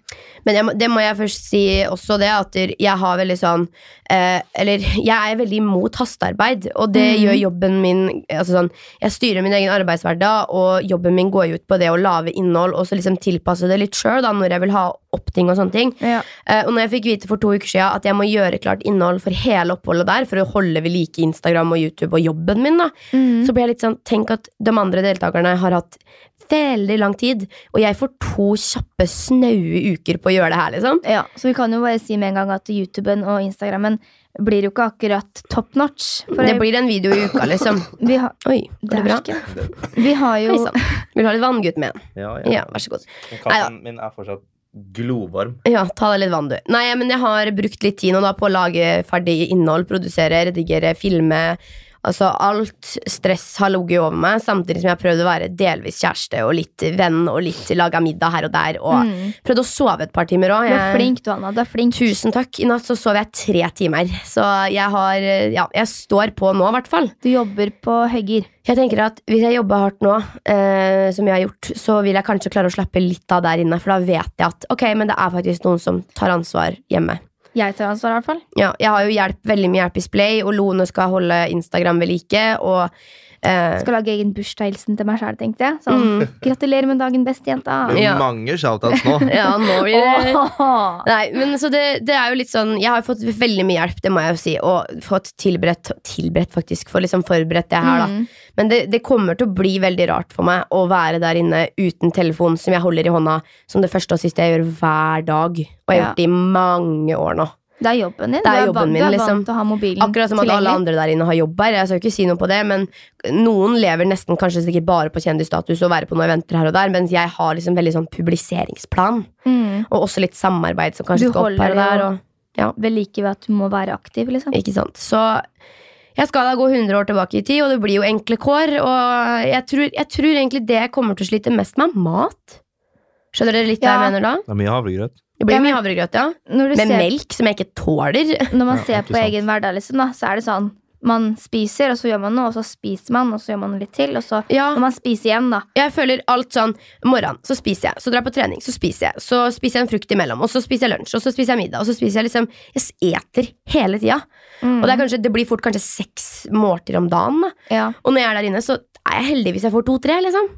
S1: Men jeg, må- det må jeg først si også det, at jeg har veldig sånn eh, Eller <laughs> jeg er veldig imot hastearbeid, og det
S2: Mm.
S1: gjør jobben min altså sånn, Jeg styrer min egen arbeidshverdag, og jobben min går jo ut på det å lage innhold og så liksom tilpasse det litt sjøl når jeg vil ha opp ting og sånne ting. Eh, Og når jeg fikk vite for to uker siden at jeg må gjøre klart innhold for hele oppholdet der for å holde ved like Instagram og YouTube og jobben min, da,
S2: Mhm.
S1: så ble jeg litt sånn Tenk at de andre deltakerne har hatt veldig lang tid, og jeg får to kjappe, snaue uker på å gjøre det her, liksom.
S2: Ja, så vi kan jo bare si med en gang at YouTuben og Instagrammen blir jo ikke akkurat top notch. For
S1: Det blir en video i
S2: <laughs>
S1: uka, liksom.
S2: vi har,
S1: Oi, går det bra?
S2: Dæsken. Vi har jo
S1: Hei
S2: <laughs>
S1: sann. Vil du ha litt vann, gutt min?
S3: Ja,
S1: Ja, vær så god.
S3: Kaffen min er fortsatt glovarm.
S1: Ja, ta deg litt vann, du. Nei, men jeg har brukt litt tid nå da på å lage ferdig innhold, produsere, redigere, filme. Altså alt stress har ligget over meg, samtidig som jeg har prøvd å være delvis kjæreste og litt venn og litt laga middag her og der. Og
S2: mm,
S1: prøvd å sove et par timer òg.
S2: Du er flink, du, Anna. Du er flink.
S1: Tusen takk. I natt så sov jeg tre timer. Så jeg har Ja, jeg står på nå, i hvert fall.
S2: Du jobber på høgger.
S1: Jeg tenker at Hvis jeg jobber hardt nå, eh, som jeg har gjort, så vil jeg kanskje klare å slappe litt av der inne. For da vet jeg at ok, men det er faktisk noen som tar ansvar hjemme.
S2: Jeg tar ansvar, i hvert fall.
S1: Ja, jeg har jo hjelp, veldig mye hjelp i Splay, og Lone skal holde Instagram ved like. Og eh,
S2: Skal lage egen bursdagshilsen til meg sjæl, tenkte jeg. Sånn,
S1: Mm.
S2: Gratulerer med dagen, beste jenta.
S3: Det er
S1: Ja.
S3: mange shoutouts
S1: <laughs>
S3: nå.
S1: ja, nå blir <laughs> det
S2: Åh.
S1: Nei, men så det, det er jo litt sånn Jeg har jo fått veldig mye hjelp, det må jeg jo si, og fått tilberedt, tilberedt faktisk, for liksom forberedt det her, da.
S2: Mm.
S1: Men det, det kommer til å bli veldig rart for meg å være der inne uten telefon som jeg holder i hånda som det første og siste jeg gjør hver dag. Og jeg har
S2: Ja.
S1: gjort det i mange år nå.
S2: Det er jobben din.
S1: Det er
S2: du er,
S1: jobben
S2: vant,
S1: min,
S2: du er
S1: liksom.
S2: vant til å ha mobilen
S1: Akkurat som at alle
S2: tilgjengelig.
S1: andre der inne har jobb her. Jeg skal jo ikke si noe på det, men noen lever nesten kanskje sikkert bare på kjendisstatus og være på noen eventer her og der, mens jeg har liksom veldig sånn publiseringsplan.
S2: Mm.
S1: Og også litt samarbeid som kanskje
S2: Du
S1: skal opp her
S2: holder
S1: og der.
S2: jo-
S1: Og,
S2: Ved like ved at du må være aktiv, liksom.
S1: Ikke sant? Så jeg skal da gå 100 år tilbake i tid, og det blir jo enkle kår. Og jeg tror, jeg tror egentlig det jeg kommer til å slite mest med, er mat. Skjønner dere litt
S2: Ja.
S1: hva jeg mener da?
S3: Det er mye havregrøt.
S1: Det blir
S2: Ja, men-
S1: mye havregrøt, ja.
S2: Når du
S1: Med
S2: ser
S1: melk som jeg ikke tåler.
S2: <laughs> Når man
S3: Ja,
S2: ser
S3: ikke
S2: på
S3: sant.
S2: egen hverdag, liksom, da, så er det sånn Man spiser, og så gjør man noe, og så spiser man, og så gjør man noe litt til, og så
S1: Ja,
S2: når man spiser igjen, da.
S1: jeg føler alt sånn Morgen, så spiser jeg. Så drar jeg på trening, så spiser jeg. Så spiser jeg en frukt imellom, og så spiser jeg lunsj, og så spiser jeg middag. Og så spiser jeg liksom Jeg eter hele tida. Og
S2: Mhm.
S1: det, er kanskje, det blir fort kanskje seks måltider om dagen. Da.
S2: Mm. ja.
S1: Og når jeg er der inne, så er jeg heldig hvis jeg får to-tre, liksom.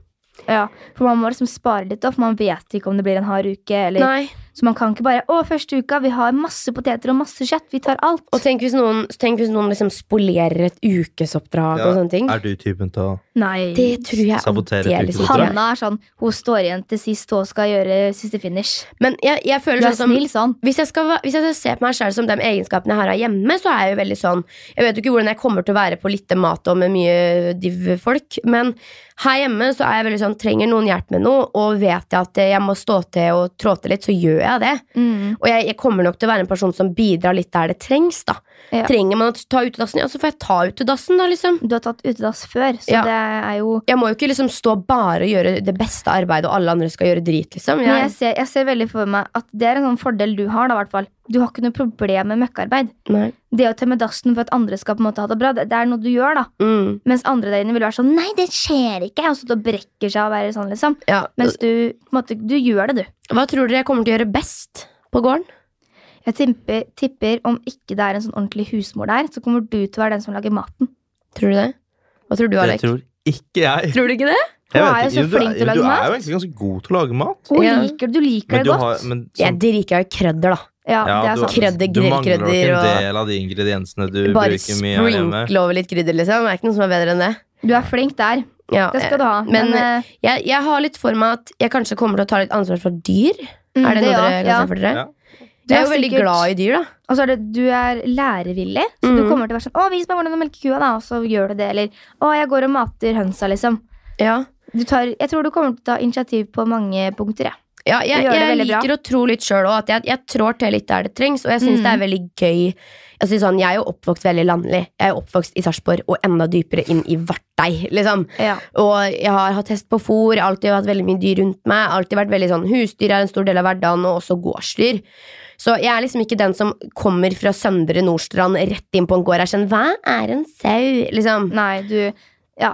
S2: Ja, for man må liksom spare litt, da, for man vet ikke om det blir en hard uke. Eller,
S1: Nei.
S2: så man kan ikke bare 'Å, første uka, vi har masse poteter og masse kjøtt. Vi tar alt.'
S1: Og tenk hvis noen, tenk hvis noen liksom spolerer et ukesoppdrag
S3: Ja,
S1: og sånne ting.
S3: Er du typen til å
S2: Nei.
S1: Det tror jeg
S3: Sabotere et
S1: aldeles ikke.
S3: ukesoppdrag?
S2: Hanna er sånn Hun står igjen til sist og skal gjøre siste finish.
S1: Men jeg, jeg
S2: Du
S1: føler
S2: er
S1: sånn som
S2: snill sånn.
S1: hvis jeg, skal, va- hvis jeg ser på meg selv som de egenskapene jeg har her hjemme, så er jeg jo veldig sånn Jeg vet jo ikke hvordan jeg kommer til å være på lite mat og med mye div-folk, men her hjemme så er jeg veldig sånn Trenger noen hjelp med noe, og vet jeg at jeg må stå til og trå til litt, så gjør jeg det.
S2: Mm.
S1: Og jeg, jeg kommer nok til å være en person som bidrar litt der det trengs, da.
S2: Ja.
S1: Trenger man å ta utedassen, ja, så får jeg ta utedassen, da, liksom.
S2: Du har tatt utedass før, så
S1: Ja.
S2: det er jo
S1: Jeg må jo ikke liksom stå bare og gjøre det beste arbeidet, og alle andre skal gjøre drit, liksom.
S2: Men
S1: Jeg,
S2: jeg ser, jeg ser veldig for meg at det er en sånn fordel du har. da, i hvert fall. Du har ikke noe problem med møkkarbeid.
S1: nei.
S2: Det å tømme dassen for at andre skal på en måte ha det bra, det, det er noe du gjør. da.
S1: Mm,
S2: Mens andre der inne vil være sånn 'nei, det skjer ikke', og så da brekker seg og være sånn, liksom.
S1: ja.
S2: Mens du på en måte, du gjør det, du.
S1: Hva tror dere jeg kommer til å gjøre best på gården?
S2: Jeg tipper, tipper om ikke det er en sånn ordentlig husmor der, så kommer du til å være den som lager maten.
S1: Tror du det? Hva tror du,
S3: Det
S1: Alek?
S3: tror ikke jeg.
S1: Tror du ikke det?
S3: jeg
S2: Hun er
S3: vet
S2: jo så
S3: ikke. Jo, du
S2: flink til å
S3: jo,
S2: lage
S3: Du er
S2: mat.
S3: jo egentlig ganske god til å lage mat.
S2: Hun
S1: Ja.
S2: liker det, du liker
S3: Men
S2: det
S3: du
S2: godt.
S3: har men
S1: Jeg
S3: sånn-
S1: driker jo i krødder, da.
S2: Ja,
S3: ja,
S2: det er
S3: du-
S2: sant.
S1: Krødder,
S3: Du mangler nok
S1: grillkrødder og-
S3: en del av de ingrediensene du
S1: Bare
S3: bruker mye her hjemme.
S1: sprinkle over litt krydder, liksom. Det er ikke noe som er bedre enn det.
S2: Du er flink der.
S1: Ja,
S2: Det skal du ha.
S1: Men,
S2: eh,
S1: jeg, jeg har litt for meg at jeg kanskje kommer til å ta litt ansvar for dyr.
S2: mm,
S1: Er det noe
S2: ja,
S1: dere kan
S2: ja.
S1: se for dere?
S3: Ja.
S2: Du
S1: Jeg er
S2: er
S1: jo veldig
S2: sikkert-
S1: glad i dyr, da.
S2: Og så er det, du er lærevillig, så du
S1: Mhm.
S2: kommer til å være sånn 'Å, vis meg hvordan du melker kua', da, og så gjør du det. Eller 'Å, jeg går og mater hønsa', liksom.
S1: Ja.
S2: Du tar, jeg tror du kommer til å ta initiativ på mange punkter, jeg.
S1: Ja, jeg,
S2: Du gjør det
S1: jeg
S2: veldig bra.
S1: liker å tro litt sjøl òg. Jeg, jeg trår til litt der det trengs. Og jeg syns
S2: Mm.
S1: det er veldig gøy. Jeg, synes sånn, jeg er jo oppvokst veldig landlig. Jeg er jo oppvokst i Sarpsborg og enda dypere inn i Vartei. Liksom.
S2: Ja.
S1: Og jeg har hatt hest på fôr, jeg har alltid hatt veldig mye dyr rundt meg. Alltid vært veldig sånn Husdyr er en stor del av hverdagen, og også gårdsdyr. Så jeg er liksom ikke den som kommer fra Søndre Nordstrand rett inn på en gård og er sånn Hva er en sau? Liksom.
S2: Nei, du,
S1: Jeg,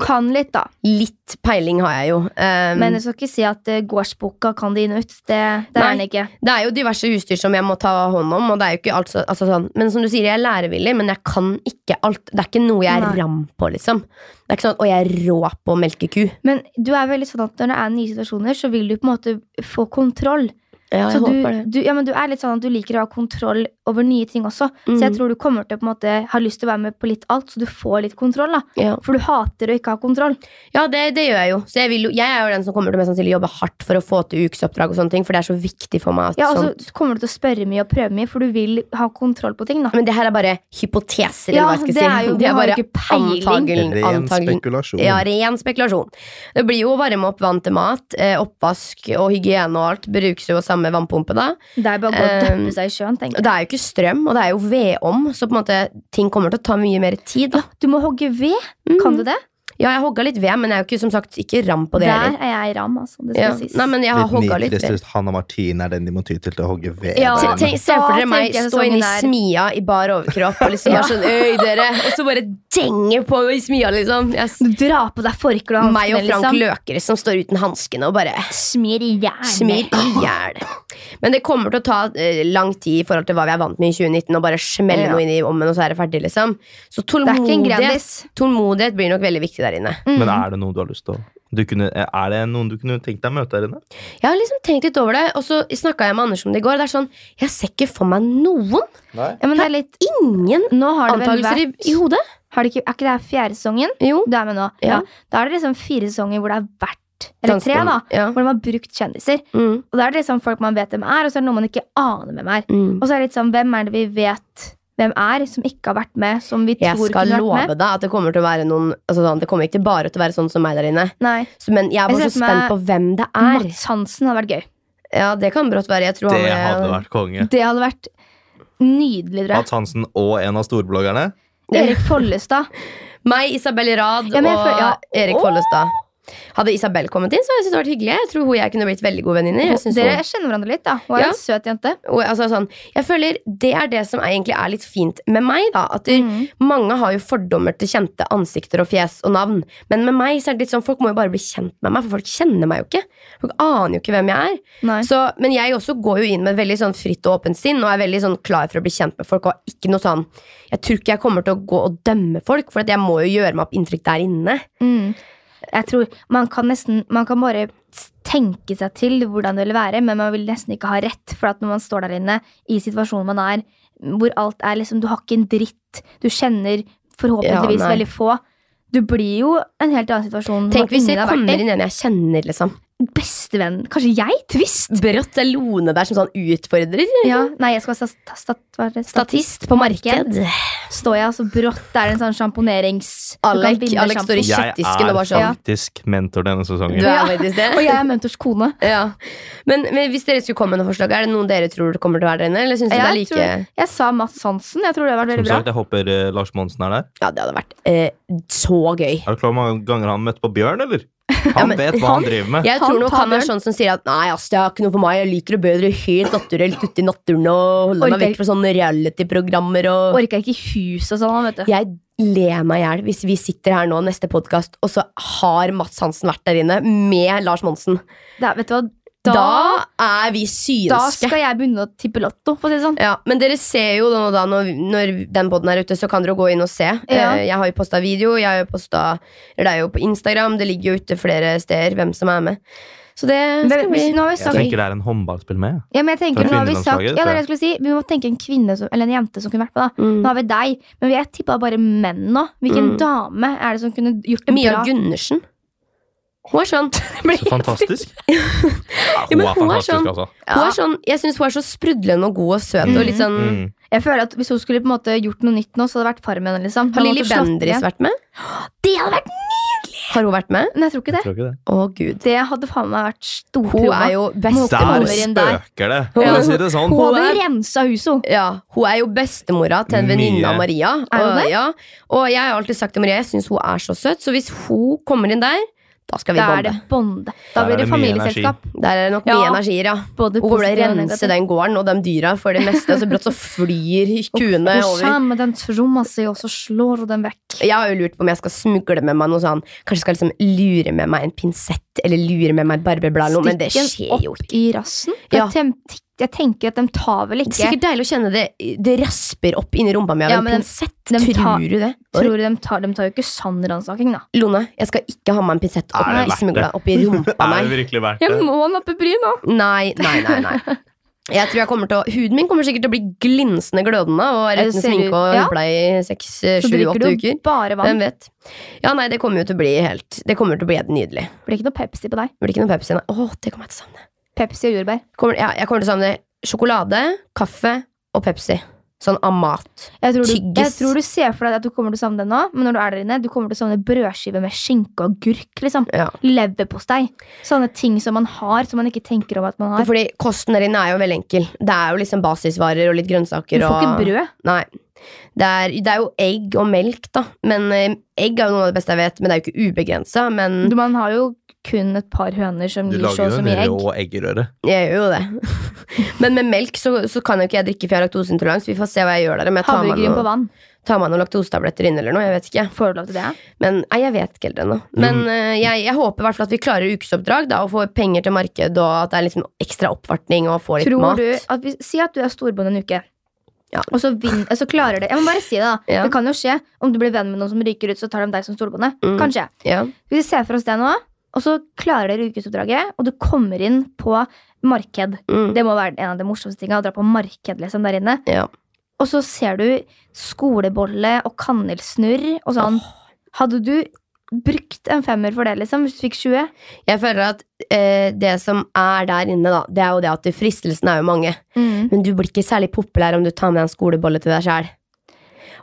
S2: du kan litt, da.
S1: litt peiling har jeg jo. Um,
S2: Men jeg skal ikke si at eh, gårdsboka kan det inn og ut. Det, det er
S1: Nei.
S2: den ikke.
S1: Det er jo diverse husdyr som jeg må ta hånd om. Og det er jo ikke alt så, altså sånn. Men som du sier, jeg er lærevillig, men jeg kan ikke alt. Det er ikke noe jeg er
S2: Nei.
S1: ram på, liksom. Det er ikke sånn at «Å, jeg er rå på å melke ku.
S2: Men du er veldig sånn at når det er nye situasjoner, så vil du på en måte få kontroll.
S1: Ja,
S2: så du, du, ja, men du er litt sånn at du liker å ha kontroll over nye ting også. Så
S1: Mm.
S2: jeg tror du kommer til å på en måte ha lyst til å være med på litt alt, så du får litt kontroll. da.
S1: Ja,
S2: For du hater å ikke ha kontroll.
S1: ja det, det gjør jeg jo. Så jeg, vil jo. jeg er jo den som kommer til å mest sannsynlig jobbe hardt for å få til ukesoppdrag og sånne ting, for det er så viktig for meg. At, sånn-
S2: Ja, altså- og
S1: sånt-
S2: så kommer du til å spørre mye og prøve mye, for du vil ha kontrol på ting. da.
S1: Men det her er bare hypoteser,
S2: Ja,
S1: eller hva jeg
S2: det
S1: skal
S2: er
S1: si.
S2: jo-
S1: <laughs> det
S2: du
S1: er
S2: har jo
S1: bare
S2: ikke peiling.
S1: antagelsen.
S3: Ren
S1: antagelsen.
S3: spekulasjon.
S1: Ja, ren spekulasjon. Det blir jo å varme opp vann til mat, eh, oppvask og hygiene og alt brukes jo av samme vannpumpe da.
S2: Det er bare å gå og
S1: Eh,
S2: døppe seg i sjøen. tenker jeg.
S1: Det er jo ikke strøm, og det er jo vedom, så på en måte ting kommer til å ta mye mer tid. Da.
S2: Du må hogge ved. Kan du det?
S1: Ja, jeg hogga litt ved, men jeg er jo ikke som sagt ikke ram på det
S2: Der
S1: heller.
S2: er jeg i ram, altså. Det
S1: Ja.
S2: skal sies.
S1: Nei, men jeg har
S3: Litt
S1: hogga litt ved.
S3: nitrist Hanna Martin er den de må ty til til å hogge ved.
S2: Ja,
S3: der.
S1: Tenk, se for
S2: Da
S1: dere meg
S2: tenker jeg
S1: stå inne i
S2: sesongen er-
S1: smia i bar overkropp og <laughs> liksom være sånn Øy, dere! Og så bare denge på i smia, liksom. Jeg, s-
S2: Du drar på deg forkle og
S1: meg og
S2: hanskene,
S1: Frank
S2: liksom.
S1: Løkere som står uten hanskene og bare
S2: Smir i hjernen.
S1: smir i hjel. Men det kommer til å ta eh, lang tid i forhold til hva vi er vant med i 2019, og bare smelle
S2: Ja.
S1: noe inn i ommen, og så er det ferdig, liksom. Så
S2: Det er ikke en
S1: tålmodighet,
S2: Grandis.
S1: tålmodighet blir nok veldig viktig der inne.
S2: Mm.
S3: Men er det noen du har lyst til å du kunne, Er det noen du kunne tenkt deg å møte her inne?
S1: Jeg har liksom tenkt litt over det, og så snakka jeg med Anders om det i går. Det er sånn, Jeg ser ikke for meg noen.
S3: Nei.
S2: ja, men det er litt
S1: Ingen
S2: Nå har det vel
S1: antakelser i,
S2: vært
S1: i hodet.
S2: har det ikke, Er ikke det her fjerde sesongen?
S1: Jo.
S2: Du er med nå?
S1: Ja.
S2: Da er det liksom fire sesonger hvor det har vært Eller tre, da.
S1: Ja.
S2: Hvor de har brukt kjendiser.
S1: Mm.
S2: Og da er det liksom folk man vet hvem er, og så er det noen man ikke aner hvem er.
S1: Mm.
S2: Og så er det litt sånn, hvem er det vi vet hvem er, som ikke har vært med, som vi
S1: Jeg
S2: tror
S1: skal
S2: kunne
S1: love
S2: vært med?
S1: deg at det kommer til å være noen altså sånn, Det kommer ikke bare til å være sånn som meg der inne.
S2: Nei.
S1: Så, men jeg er
S2: Jeg
S1: bare
S2: ser
S1: så
S2: for
S1: spent
S2: meg
S1: på hvem det er.
S2: Mats Hansen hadde vært gøy.
S1: Ja, Det kan brått være. Jeg tror
S3: Det
S1: han, eh,
S3: hadde vært konge.
S2: Det hadde vært nydelig, tror jeg.
S3: Mats Hansen og en av storbloggerne.
S2: Erik Follestad.
S1: Meg, Isabel Rad
S2: Ja, men jeg
S1: og
S2: føler- ja.
S1: Erik
S2: Åh!
S1: Follestad. Hadde Isabel kommet inn, så hadde jeg syntes det vært hyggelig. Jeg tror hun og jeg kunne blitt veldig gode venninner. Jeg synes hun-
S2: Dere kjenner hverandre litt, da. Hun er
S1: Ja.
S2: en søt jente.
S1: Og, altså, sånn, jeg føler Det er det som er, egentlig er litt fint med meg. da At du,
S2: Mhm.
S1: Mange har jo fordommer til kjente ansikter og fjes og navn. Men med meg så er det litt sånn folk må jo bare bli kjent med meg, for folk kjenner meg jo ikke. Folk aner jo ikke hvem jeg er.
S2: Nei.
S1: Så, men jeg også går jo inn med et veldig sånn fritt og åpent sinn og er veldig sånn klar for å bli kjent med folk. Og har ikke noe sånn Jeg tror ikke jeg kommer til å gå og dømme folk, for at jeg må jo gjøre meg opp inntrykk der inne.
S2: Mm. Jeg tror Man kan nesten Man kan bare s- tenke seg til hvordan det vil være, men man vil nesten ikke ha rett. For at når man står der inne, i situasjonen man er, hvor alt er liksom Du har ikke en dritt. Du kjenner forhåpentligvis
S1: Ja, nei.
S2: veldig få. Du blir jo en helt annen situasjon.
S1: Tenk hvis jeg
S2: ingen har vært
S1: kommer
S2: i.
S1: inn en jeg kjenner, liksom.
S2: Bestevenn. Kanskje jeg? Twist?
S1: Brått er Lone der som sånn utfordrer.
S2: Ja, nei, jeg skal være stat stat hva er det?
S1: Statist på marked.
S2: Står jeg altså brått der en sånn sjamponerings... du kan
S1: Alec,
S2: binde
S1: Alec står i
S2: sjampo.
S1: kjøttdisken og bare sånn.
S3: faktisk mentor denne sesongen.
S1: Du er
S2: Ja.
S1: faktisk <laughs> det.
S2: Og jeg er mentors kone.
S1: Ja. Men, men hvis dere skulle komme med noen forslag, er det noen dere tror kommer til å være der inne? Eller synes du det er
S2: Jeg
S1: like
S2: tror- Jeg sa Mads Hansen. Jeg tror det har vært
S3: Som
S2: veldig bra.
S3: sagt, jeg håper eh, Lars Monsen er der.
S1: Ja, det hadde vært eh, så gøy.
S3: Er du klar over hvor mange ganger han møtte på Bjørn, eller? Han
S1: men-
S3: vet hva han driver med.
S1: Jeg
S2: Han
S1: tror nok
S2: tar
S1: han er
S2: Bjørn.
S1: sånn som sier at Nei, ass, det er ikke noe for meg. Jeg liker det bedre helt naturelt ute i naturen og holde meg
S2: Orker.
S1: vekk fra sånne reality-programmer og
S2: Orka ikke hus og sånn. han, Vet du.
S1: Jeg ler meg i hjel hvis vi sitter her nå neste podkast, og så har Mats Hansen vært der inne med Lars Monsen.
S2: Da, vet du hva?
S1: Da,
S2: Da,
S1: er vi
S2: da,
S1: synske.
S2: skal jeg begynne å tippe lotto, for å si det sånn.
S1: Ja, men dere ser jo da, da når, når den podden er ute, så kan dere jo gå inn og se.
S2: Ja.
S1: Eh, Jeg har jo posta video, jeg har jo posta eller Det er jo på Instagram, det ligger jo ute flere steder hvem som er med. Så det
S2: Men,
S1: skal bli
S2: hvis- nå har vi
S3: Jeg
S2: sagt,
S3: tenker det er en håndballspill med.
S2: ja, men jeg tenker,
S3: Fra
S2: nå har vi sagt
S3: kvinnelandslaget,
S2: ja, det er
S3: så-
S2: det jeg skulle si, Vi må tenke en kvinne som, eller en jente som kunne vært med. da
S1: mm.
S2: Nå har vi deg, men jeg tippa bare menn nå. Hvilken
S1: Mm.
S2: dame er det som kunne gjort det
S1: Mia
S2: bra?
S1: Gundersen. Hun
S2: <laughs>
S1: er sånn
S3: Så fantastisk. Ja,
S1: Ja,
S3: hun
S1: men
S3: er
S1: hun er
S3: fantastisk,
S1: sånn-
S3: altså.
S1: Hun er sånn, jeg syns hun er så sprudlende og god og søt. Og litt sånn,
S3: Mm.
S2: Jeg føler at Hvis hun skulle på en måte gjort noe nytt nå, så hadde det vært Farmen. liksom
S1: Har
S2: Hun
S1: Lilly
S2: måtte slått
S1: Bendriss
S2: igjen.
S1: vært med?
S2: Det hadde vært
S1: Har hun vært med?
S2: Nei, jeg tror ikke det.
S3: Tror ikke det.
S1: Å, gud.
S2: Det hadde faen meg vært
S1: Hun
S2: stortromma.
S1: er jo
S3: Der
S1: bestemor.
S2: kommer inn der.
S3: spøker det, for å si det sånn.
S2: Hun hadde
S1: Hun
S2: rensa huset, hun.
S1: Ja, hun er jo bestemora til en
S3: Mye.
S1: venninne av Maria.
S2: Er hun
S1: og,
S2: det?
S1: Ja, og jeg har alltid sagt til Maria jeg syns hun er så søt, så hvis hun kommer inn der, da skal vi
S2: Da er det
S1: bonde.
S2: bonde. Da
S3: Der er
S2: blir det
S3: det mye
S2: familieselskap.
S1: Der er det nok mye
S2: Ja.
S1: energier, ja.
S2: Både
S1: Hun burde
S2: positivt og
S1: rense
S2: negativt.
S1: den gården og de dyra for det meste, og så brått
S2: <laughs>
S1: så flyr kuene
S2: Hun
S1: over.
S2: kommer med den tromma si, og så slår hun den vekk.
S1: Jeg har jo lurt på om jeg skal smugle med meg noe sånn Kanskje jeg skal liksom lure med meg en pinsett eller lure med meg et barberblad, eller noe, men det
S2: Stikker
S1: skjer jo
S2: opp
S1: ikke.
S2: i rassen.
S1: Ja.
S2: Jeg, tem- jeg tenker at de tar vel
S1: Det er
S2: ikke
S1: sikkert deilig å kjenne det Det rasper opp inni rumpa mi av
S2: Ja,
S1: en
S2: men dem-
S1: pinsett.
S2: dem tar-
S1: Tror du det?
S2: Tror du de tar, de tar jo ikke sann ransaking, da.
S1: Lone, jeg skal ikke ha med en pinsett opp,
S3: Er det verdt
S1: smugla
S3: det?
S1: opp i rumpa,
S3: <laughs> Er det
S1: nei.
S3: virkelig verdt
S2: Jeg
S3: det?
S2: må nappe bry nå!
S1: Nei, nei, nei, nei. Jeg tror jeg kommer til å, Huden min kommer sikkert til å bli glinsende glødende
S2: Ja,
S1: og er
S2: det
S1: uten
S2: ser
S1: sminke
S2: ut-
S1: og
S2: ja.
S1: hudpleie i seks, eh,
S2: Så
S1: sju,
S2: drikker
S1: åtte
S2: du
S1: uker.
S2: bare vann.
S1: Hvem vet? Ja, nei, det kommer jo til å bli helt Det kommer til å bli helt nydelig.
S2: Det blir ikke noe Pepsi på deg.
S1: Det blir ikke noe Pepsi. Nei. Åh, det kommer jeg til å savne.
S2: Pepsi og jordbær.
S1: Kommer, ja, jeg kommer til å savne sjokolade, kaffe og Pepsi. Sånn av mat.
S2: Jeg tror, du, jeg
S1: Tyggis.
S2: tror du ser for deg at du kommer til å savne den nå, men når du er der inne, du kommer til å savne brødskive med skinke og agurk. Liksom.
S1: Ja.
S2: Leverpostei. Sånne ting som man har, som man ikke tenker over at man har.
S1: Fordi kosten der inne er jo veldig enkel. Det er jo liksom basisvarer og litt
S2: Du
S1: grønnsaker.
S2: får ikke
S1: og...
S2: brød.
S1: Nei. Det er, det er jo egg og melk, da. Men eh, Egg er jo noe av det beste jeg vet, men det er jo ikke ubegrensa. Men
S2: Du, man har jo kun et par høner som
S3: Du
S2: gir så
S3: lager
S2: og
S3: jo
S2: så
S3: en
S2: mye egg.
S3: rå eggerøre.
S1: jeg gjør jo det. <laughs> men med melk så, så kan jo ikke jeg drikke, for jeg har laktoseintolerans. Vi får se hva jeg gjør der. Om jeg tar meg
S2: Havregryn på
S1: noe-
S2: vann.
S1: tar meg noen laktosetabletter inn eller noe. Jeg vet ikke.
S2: Får du lov til det?
S1: Men nei, jeg vet ikke helt ennå. Men
S2: Mm.
S1: eh, jeg, jeg håper i hvert fall at vi klarer ukesoppdrag da, og får penger til marked, og at det er liksom ekstra oppvartning og får litt
S2: Tror
S1: mat.
S2: du at vi, Si at du er storbond en uke.
S1: Ja.
S2: Og så, vin, så klarer det Jeg må bare si det, da.
S1: <laughs> Ja.
S2: Det kan jo skje. Om du blir venn med noen som ryker ut, så tar de deg som storbonde.
S1: Mm.
S2: Kanskje.
S1: Ja.
S2: Vi ser for oss det nå, og så klarer dere ukesoppdraget, og du kommer inn på marked.
S1: Mm.
S2: Det må være en av de morsomste tingene, å dra på marked liksom der inne.
S1: Ja.
S2: Og så ser du skolebolle og kanelsnurr og sånn. Hadde du brukt en femmer for det, liksom, hvis du fikk 20?
S1: Jeg føler at eh, det som er der inne, da, det er jo det at fristelsene er jo mange. Men du blir ikke særlig populær om du tar med en skolebolle til deg sjæl.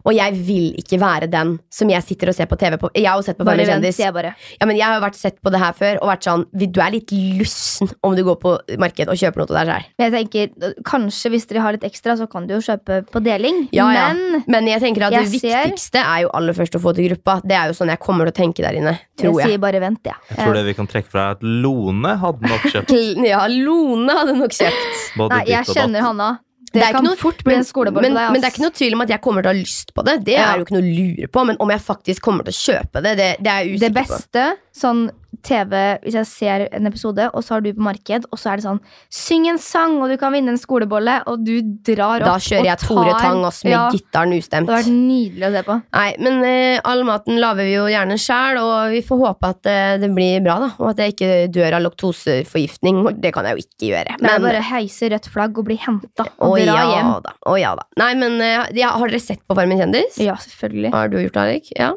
S1: Og jeg vil ikke være den som jeg sitter og ser på TV på. Jeg har jo sett på
S2: Bare
S1: Farmen
S2: vent,
S1: kjendis.
S2: sier jeg bare.
S1: Ja, men jeg har jo vært sett på det her før og vært sånn "Vi- Du er litt lussen om du går på markedet og kjøper noe til deg sjæl.
S2: Men jeg tenker, kanskje hvis dere har litt ekstra, så kan du jo kjøpe på deling.
S1: Ja, ja.
S2: Men
S1: Men jeg tenker at
S2: Jeg
S1: det
S2: ser-
S1: viktigste er jo aller først å få til gruppa. Det er jo sånn jeg kommer til å tenke der inne. Tror
S2: jeg
S1: jeg.
S2: sier bare vent, ja.
S3: Jeg tror det vi kan trekke fra, er at Lone hadde nok
S2: <laughs>
S3: kjøpt
S1: Kl- <laughs> Ja, Lone hadde nok kjøpt.
S3: både
S2: Nei, jeg
S3: ditt og datt.
S2: kjenner Hanna. Det,
S1: Det er
S2: kan
S1: ikke noe-
S2: fort bli en skolebolle
S1: men,
S2: på deg.
S1: men det er
S2: ass.
S1: ikke noe tvil om at jeg kommer til å ha lyst på det. Det
S2: Ja.
S1: er jo ikke noe å lure på. Men om jeg faktisk kommer til å kjøpe det, det, det er jeg
S2: Det
S1: usikker på.
S2: beste sånn TV hvis jeg ser en episode, og så har du på marked, og så er det sånn Syng en sang, og du kan vinne en skolebolle, og du drar opp
S1: Da kjører jeg
S2: og
S1: Tore
S2: tar-
S1: Tang også med
S2: Ja,
S1: gitaren
S2: Det
S1: ustemt.
S2: har vært nydelig å se på.
S1: Nei, men eh, all maten lager vi jo gjerne sjæl, og vi får håpe at eh, det blir bra, da. Og at jeg ikke dør av laktoseforgiftning. og Det kan jeg jo ikke gjøre.
S2: Det er
S1: Men-
S2: bare å heise rødt flagg og bli henta
S1: Å
S2: og dra
S1: ja
S2: hjem.
S1: da. Å ja da. Nei, men eh, ja, har dere sett på Farmen kjendis?
S2: Ja, selvfølgelig.
S1: Har du gjort det, Erik? Ja.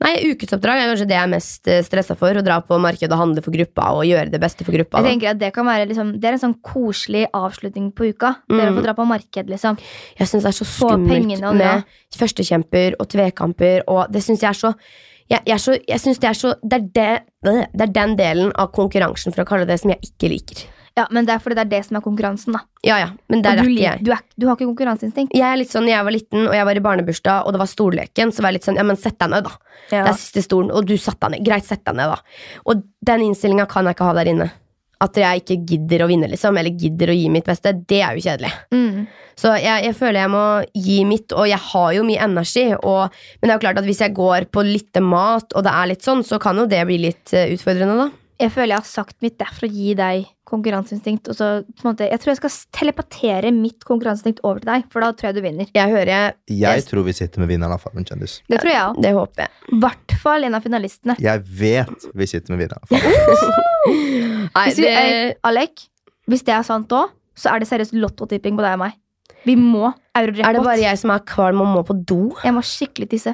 S1: Nei, ukesoppdrag er kanskje det jeg er mest stressa for. Å dra på markedet og handle for gruppa og gjøre det beste for gruppa.
S2: Jeg
S1: da.
S2: tenker at Det kan være liksom, Det er en sånn koselig avslutning på uka. Dere
S1: Mm.
S2: får dra på marked, liksom.
S1: Jeg syns det er så
S2: Få
S1: skummelt
S2: pengene og
S1: med førstekjemper og tvekamper, og det syns jeg er så jeg, jeg, er så, jeg synes Det er så det er, det, det er den delen av konkurransen for å kalle det som jeg ikke liker.
S2: Ja, Men det er fordi det er det som er konkurransen. da
S1: Ja, ja, men der
S2: og
S1: er
S2: du,
S1: ikke
S2: lik-
S1: jeg.
S2: du, er, du har ikke konkurranseinstinkt.
S1: Jeg er litt sånn, jeg var liten, og jeg var i barnebursdag, og det var stolleken, så var jeg litt sånn Ja, men sett deg ned, da. Det er siste stolen, og du satte deg ned. Greit, sett deg ned, da. Og den innstillinga kan jeg ikke ha der inne. At jeg ikke gidder å vinne, liksom, eller gidder å gi mitt beste, det er jo kjedelig.
S2: Mm.
S1: Så jeg, jeg føler jeg må gi mitt, og jeg har jo mye energi. Og, men det er jo klart at hvis jeg går på lite mat, og det er litt sånn, så kan jo det bli litt eh, utfordrende, da.
S2: Jeg føler jeg har sagt mitt det er for å gi deg konkurranseinstinkt. Og så, på en måte, jeg tror jeg skal s- telepatere mitt konkurranseinstinkt over til deg, for da tror jeg du vinner.
S1: Jeg hører jeg
S3: Jeg tror vi sitter med vinneren av Farmen kjendis.
S2: Det tror jeg òg.
S1: Det håper jeg.
S2: I hvert fall en av finalistene.
S3: Jeg vet vi sitter med vinneren. av Farmen.
S1: Nei,
S2: Hvis vi,
S1: det,
S2: eh, Alek, hvis det er sant òg, så er det seriøst lottotipping på deg og meg. Vi må
S1: er det
S2: eurojackpot.
S1: bare jeg som er kvalm og må på do?
S2: Jeg må skikkelig tisse.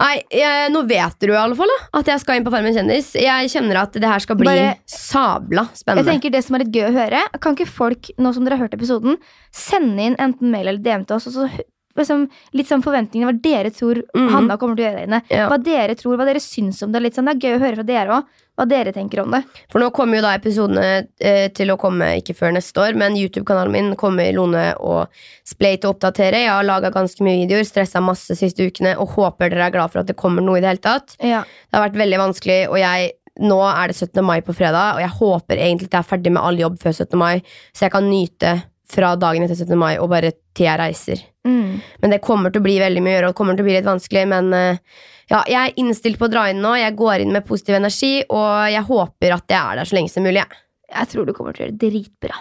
S1: Nei, jeg, nå vet du i alle fall da, at jeg skal inn på Farmen kjendis. Jeg kjenner at det her skal bli
S2: Bare-
S1: sabla
S2: Jeg
S1: spennende.
S2: tenker det som er litt gøy å høre Kan ikke folk, nå som dere har hørt episoden, sende inn enten mail eller DM til oss? Og så hø- liksom, litt sånn forventningene hva dere tror
S1: Mhm.
S2: Hanna kommer til å gjøre der inne.
S1: Ja.
S2: Hva dere tror, hva dere syns om det. Litt sånn, det er gøy å høre fra dere òg. Hva dere tenker om det.
S1: For nå kommer jo da episodene eh, til å komme ikke før neste år, men YouTube-kanalen min kommer Lone og Splay til å oppdatere. Jeg har laga ganske mye videoer, stressa masse siste ukene og håper dere er glad for at det kommer noe i det hele tatt. Det har vært veldig vanskelig, og jeg nå er det 17. mai på fredag, og jeg håper egentlig at jeg er ferdig med all jobb før 17. mai, så jeg kan nyte fra dagen etter 17. mai og bare til jeg reiser.
S2: Mm.
S1: Men det kommer til å bli veldig mye å gjøre, og det kommer til å bli litt vanskelig. Men eh, ja, jeg er innstilt på å dra inn nå. Jeg går inn med positiv energi, og jeg håper at jeg er der så lenge som mulig. jeg.
S2: Jeg tror du kommer til å gjøre det dritbra.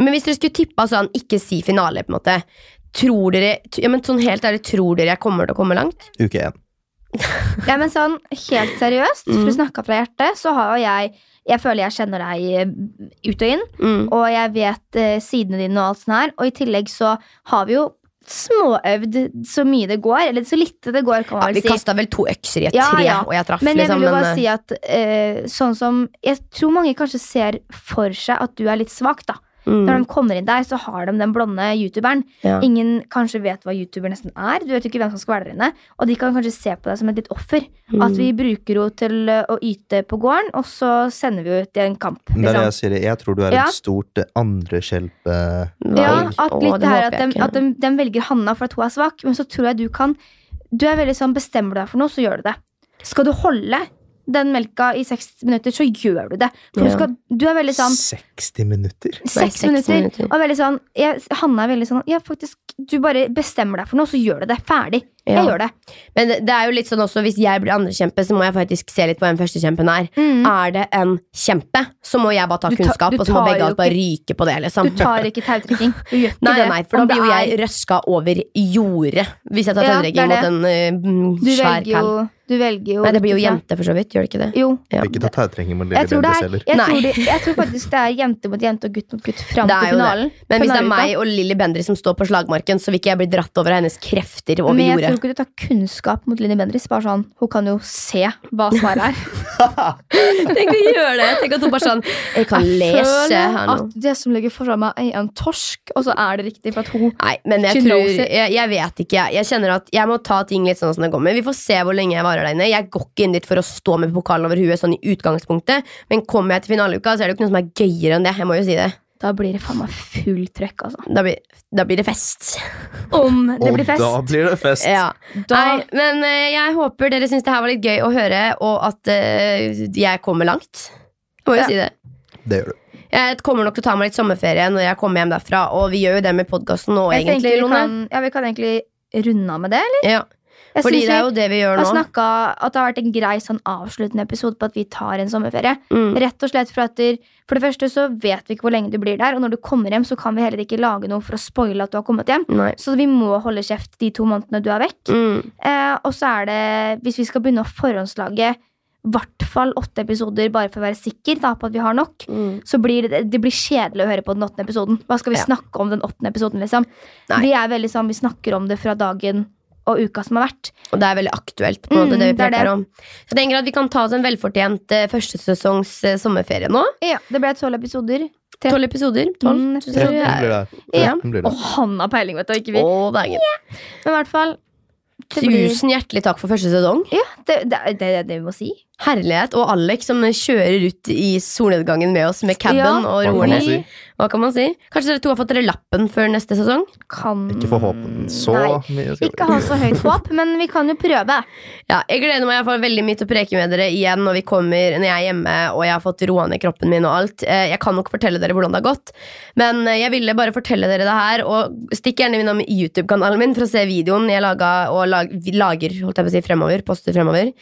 S1: Men hvis dere skulle tippa sånn, ikke si finale, på en måte. Tror dere, t- ja, men sånn helt ærlig, tror dere jeg kommer til å komme langt? <laughs>
S3: Uke én.
S2: Nei, men sånn, Helt seriøst, for å
S1: Mm.
S2: snakke fra hjertet, så har jo jeg Jeg føler jeg kjenner deg eh, ut og inn.
S1: Mm.
S2: og jeg vet eh, sidene dine og alt sånt her. Og i tillegg så har vi jo småøvd så mye det går, eller så lite det går, kan
S1: Ja,
S2: man
S1: vi
S2: vel si.
S1: kasta vel to økser i et
S2: Ja,
S1: tre,
S2: ja.
S1: og jeg traff,
S2: Men jeg
S1: liksom.
S2: vil jo
S1: Men
S2: bare
S1: eh,
S2: si at eh, sånn som Jeg tror mange kanskje ser for seg at du er litt svak, da. Når
S1: mm,
S2: de kommer inn der, så har de den blonde youtuberen.
S1: ja.
S2: Ingen kanskje vet hva youtuber nesten er. Du vet jo ikke hvem som skal være der inne. Og de kan kanskje se på deg som et litt offer. At
S3: Mm.
S2: vi bruker henne til eh, å yte på gården, og så sender vi henne ut i en kamp.
S3: Det er det
S2: liksom.
S3: jeg sier. Jeg tror du er
S2: Ja.
S3: et stort eh, andreskjelpe...
S2: Ja,
S1: Valg.
S2: at
S1: Mm. Å,
S2: litt det her at,
S1: håper
S2: de,
S1: jeg ikke.
S2: at de, de velger Hanna for at hun er svak, men så tror jeg du kan Du er veldig sånn Bestemmer du deg for noe, så gjør du det. Skal du holde den melka i 60 minutter, så gjør du det. For
S1: Ja.
S2: du, skal, du er veldig sånn
S3: 60 minutter?
S1: Nei,
S2: Seks minutter. Og veldig sånn jeg, Hanna er veldig sånn Ja, faktisk, du bare bestemmer deg for noe, så gjør du det. Ferdig.
S1: Ja.
S2: Jeg gjør det.
S1: Men det det er jo litt sånn også, hvis jeg blir andrekjempe, så må jeg faktisk se litt på hvem førstekjempen er.
S2: Mm.
S1: Er det en kjempe, så må jeg bare ta
S2: Du tar-
S1: kunnskap,
S2: du
S1: og så må
S2: tar
S1: begge
S2: jo
S1: alt bare ryke på det, liksom.
S2: Du tar ikke
S1: <laughs>
S2: tautrekking. Du gjør ikke
S1: Nei, nei,
S2: det.
S1: nei, for da
S2: Om det
S1: blir jo
S2: er-
S1: jeg røska over jordet hvis jeg tar
S2: Ja,
S1: tannregning
S2: det er
S1: mot en eh, mm,
S2: Du
S1: svær
S2: velger
S1: cal.
S2: jo, du velger jo
S1: Nei, det blir jo
S2: ut ifra-
S1: jente, for så vidt. Gjør det ikke det?
S2: Jo,
S1: Ja.
S3: Ikke ta tautrenger med lille
S2: Jeg tror, det er,
S3: heller.
S2: jeg,
S1: Nei.
S2: tror det, jeg tror faktisk det er jente mot jente og gutt mot gutt fram
S1: Det er
S2: til
S1: jo det.
S2: finalen.
S1: Men hvis det er
S2: Finaluka.
S1: meg og Lilly Bendriss som står på slagmarken, så vil ikke jeg bli dratt over av hennes krefter over
S2: Men jeg
S1: jordet.
S2: tror ikke du tar kunnskap mot Linni Bendriss. Bare sånn, hun kan jo se hva
S1: <laughs>
S2: svaret er.
S1: Tenk å gjøre det! Tenk at hun bare sånn Jeg kan lese her nå.
S2: at det som ligger foran meg, er en torsk, og så er det riktig. For at hun
S1: Nei, men jeg
S2: She
S1: tror
S2: knows it.
S1: jeg, jeg vet ikke. Jeg, jeg kjenner at jeg må ta ting litt sånn som det kommer. Vi får se hvor lenge jeg varer der inne. Jeg går ikke inn dit for å stå med pokalen over huet sånn i utgangspunktet, men kommer jeg til finaleuka, så er det jo ikke noe som er gøyere enn det. Jeg må jo si det.
S2: Da blir det faen meg fullt trøkk, altså.
S1: Da blir, da blir det fest.
S2: Om det
S3: Og
S2: blir fest.
S3: da blir det fest.
S1: Ja.
S2: Da,
S1: Nei, men eh, jeg håper dere syns det her var litt gøy å høre, og at eh, jeg kommer langt. Jeg må jo
S2: Ja.
S1: si det.
S3: Det gjør du.
S1: Jeg kommer nok til å ta meg litt sommerferie når jeg kommer hjem derfra, og vi gjør jo det med podkasten nå,
S2: jeg
S1: egentlig,
S2: tenker vi
S1: Lone.
S2: kan, ja, vi kan egentlig runde av med det, eller?
S1: Ja.
S2: Jeg
S1: Fordi
S2: synes
S1: det er
S2: vi
S1: jo det vi gjør
S2: har
S1: nå.
S2: snakka at det har vært en grei sånn avsluttende episode på at vi tar en sommerferie.
S1: Mm.
S2: Rett og slett For at der- for det første så vet vi ikke hvor lenge du blir der, og når du kommer hjem, så kan vi heller ikke lage noe for å spoile at du har kommet hjem.
S1: Nei.
S2: Så vi må holde kjeft de to månedene du er vekk.
S1: Mm.
S2: Eh, og så er det, hvis vi skal begynne å forhåndslage i hvert fall åtte episoder, bare for å være sikker da, på at vi har nok,
S1: Mm.
S2: så blir det, det blir kjedelig å høre på den åttende episoden. Hva skal vi
S1: Ja.
S2: snakke om den åttende episoden, liksom?
S1: Nei.
S2: Vi er veldig sånn, vi snakker om det fra dagen og uka som har vært.
S1: Og det er veldig aktuelt. på en måte
S2: Mm,
S1: det vi
S2: det er
S1: prater
S2: det.
S1: om Så jeg tenker at Vi kan ta oss en velfortjent eh, førstesesongs eh, sommerferie nå.
S2: Ja, det ble tolv episoder. Tre-
S1: Tolv episoder. Tolv.
S2: Mm,
S1: Så
S2: tror jeg.
S1: det
S3: Tretten blir det.
S1: Ja.
S3: Tretten blir
S2: Og
S3: det.
S2: han har peiling, vet du, ikke vi.
S1: Å, dagen.
S2: Men i hvert fall, det blir
S1: Tusen hjertelig takk for første sesong.
S2: det, det, det, det er det vi må si.
S1: Herlighet. Og Alex som kjører ut i solnedgangen med oss med caben
S2: Ja,
S1: og
S3: Hva kan
S1: roer
S3: man
S1: ned.
S3: si?
S1: Hva kan man si? Kanskje dere to har fått dere lappen før neste sesong?
S2: Kan
S3: Ikke forhåpen så
S2: Mm, Nei.
S3: mye. skal
S2: Ikke
S3: vi-
S2: ha så høyt håp, men vi kan jo prøve.
S1: Ja, Jeg gleder meg i hvert fall veldig mye til å preke med dere igjen når, vi kommer, når jeg er hjemme og jeg har fått roa ned kroppen min. og alt Eh, Jeg kan nok fortelle dere hvordan det har gått, men eh, jeg ville bare fortelle dere det her. Og Stikk gjerne innom YouTube-kanalen min for å se videoen jeg laga og lag, vi lager holdt jeg på å si, fremover. Poster fremover.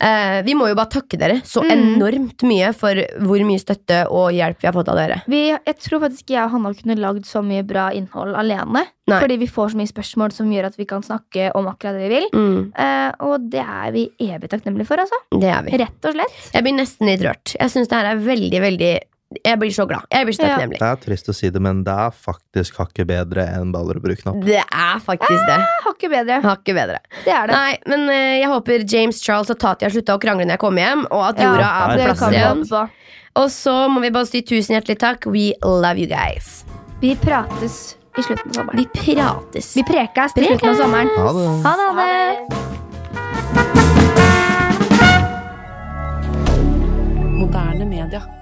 S1: Eh, vi må jo bare takke dere så
S2: Mm.
S1: enormt mye for hvor mye støtte og hjelp vi har fått av dere.
S2: Vi, jeg tror faktisk jeg og Hanna kunne lagd så mye bra innhold alene.
S1: Nei.
S2: Fordi vi får så mye spørsmål som gjør at vi kan snakke om akkurat det vi vil. Eh, og det er vi evig takknemlige for, altså.
S1: Mm, det er vi.
S2: Rett og slett.
S1: Jeg blir nesten litt rørt. Jeg syns det her er veldig, veldig Jeg blir så glad. Jeg blir så
S2: Ja.
S1: takknemlig.
S3: Det er trist å si det, men det er faktisk hakket bedre enn Ballerud Bruknapp.
S1: Det er faktisk det.
S2: Hakket bedre.
S1: Hakket bedre.
S2: Det er det.
S1: Nei, men eh, jeg håper James Charles og Tati har slutta å krangle når jeg kommer hjem, og at
S2: Ja,
S1: jorda er
S3: det
S1: på
S2: det
S1: plass
S2: kan vi
S1: igjen.
S2: håpe på.
S1: Og så må vi bare si tusen hjertelig takk. We love you guys.
S2: Vi prates i slutten av sommeren.
S1: Vi prates.
S2: Vi prekes i slutten av sommeren.
S3: Ha det.
S2: Ha det. Ha det.
S4: Moderne media.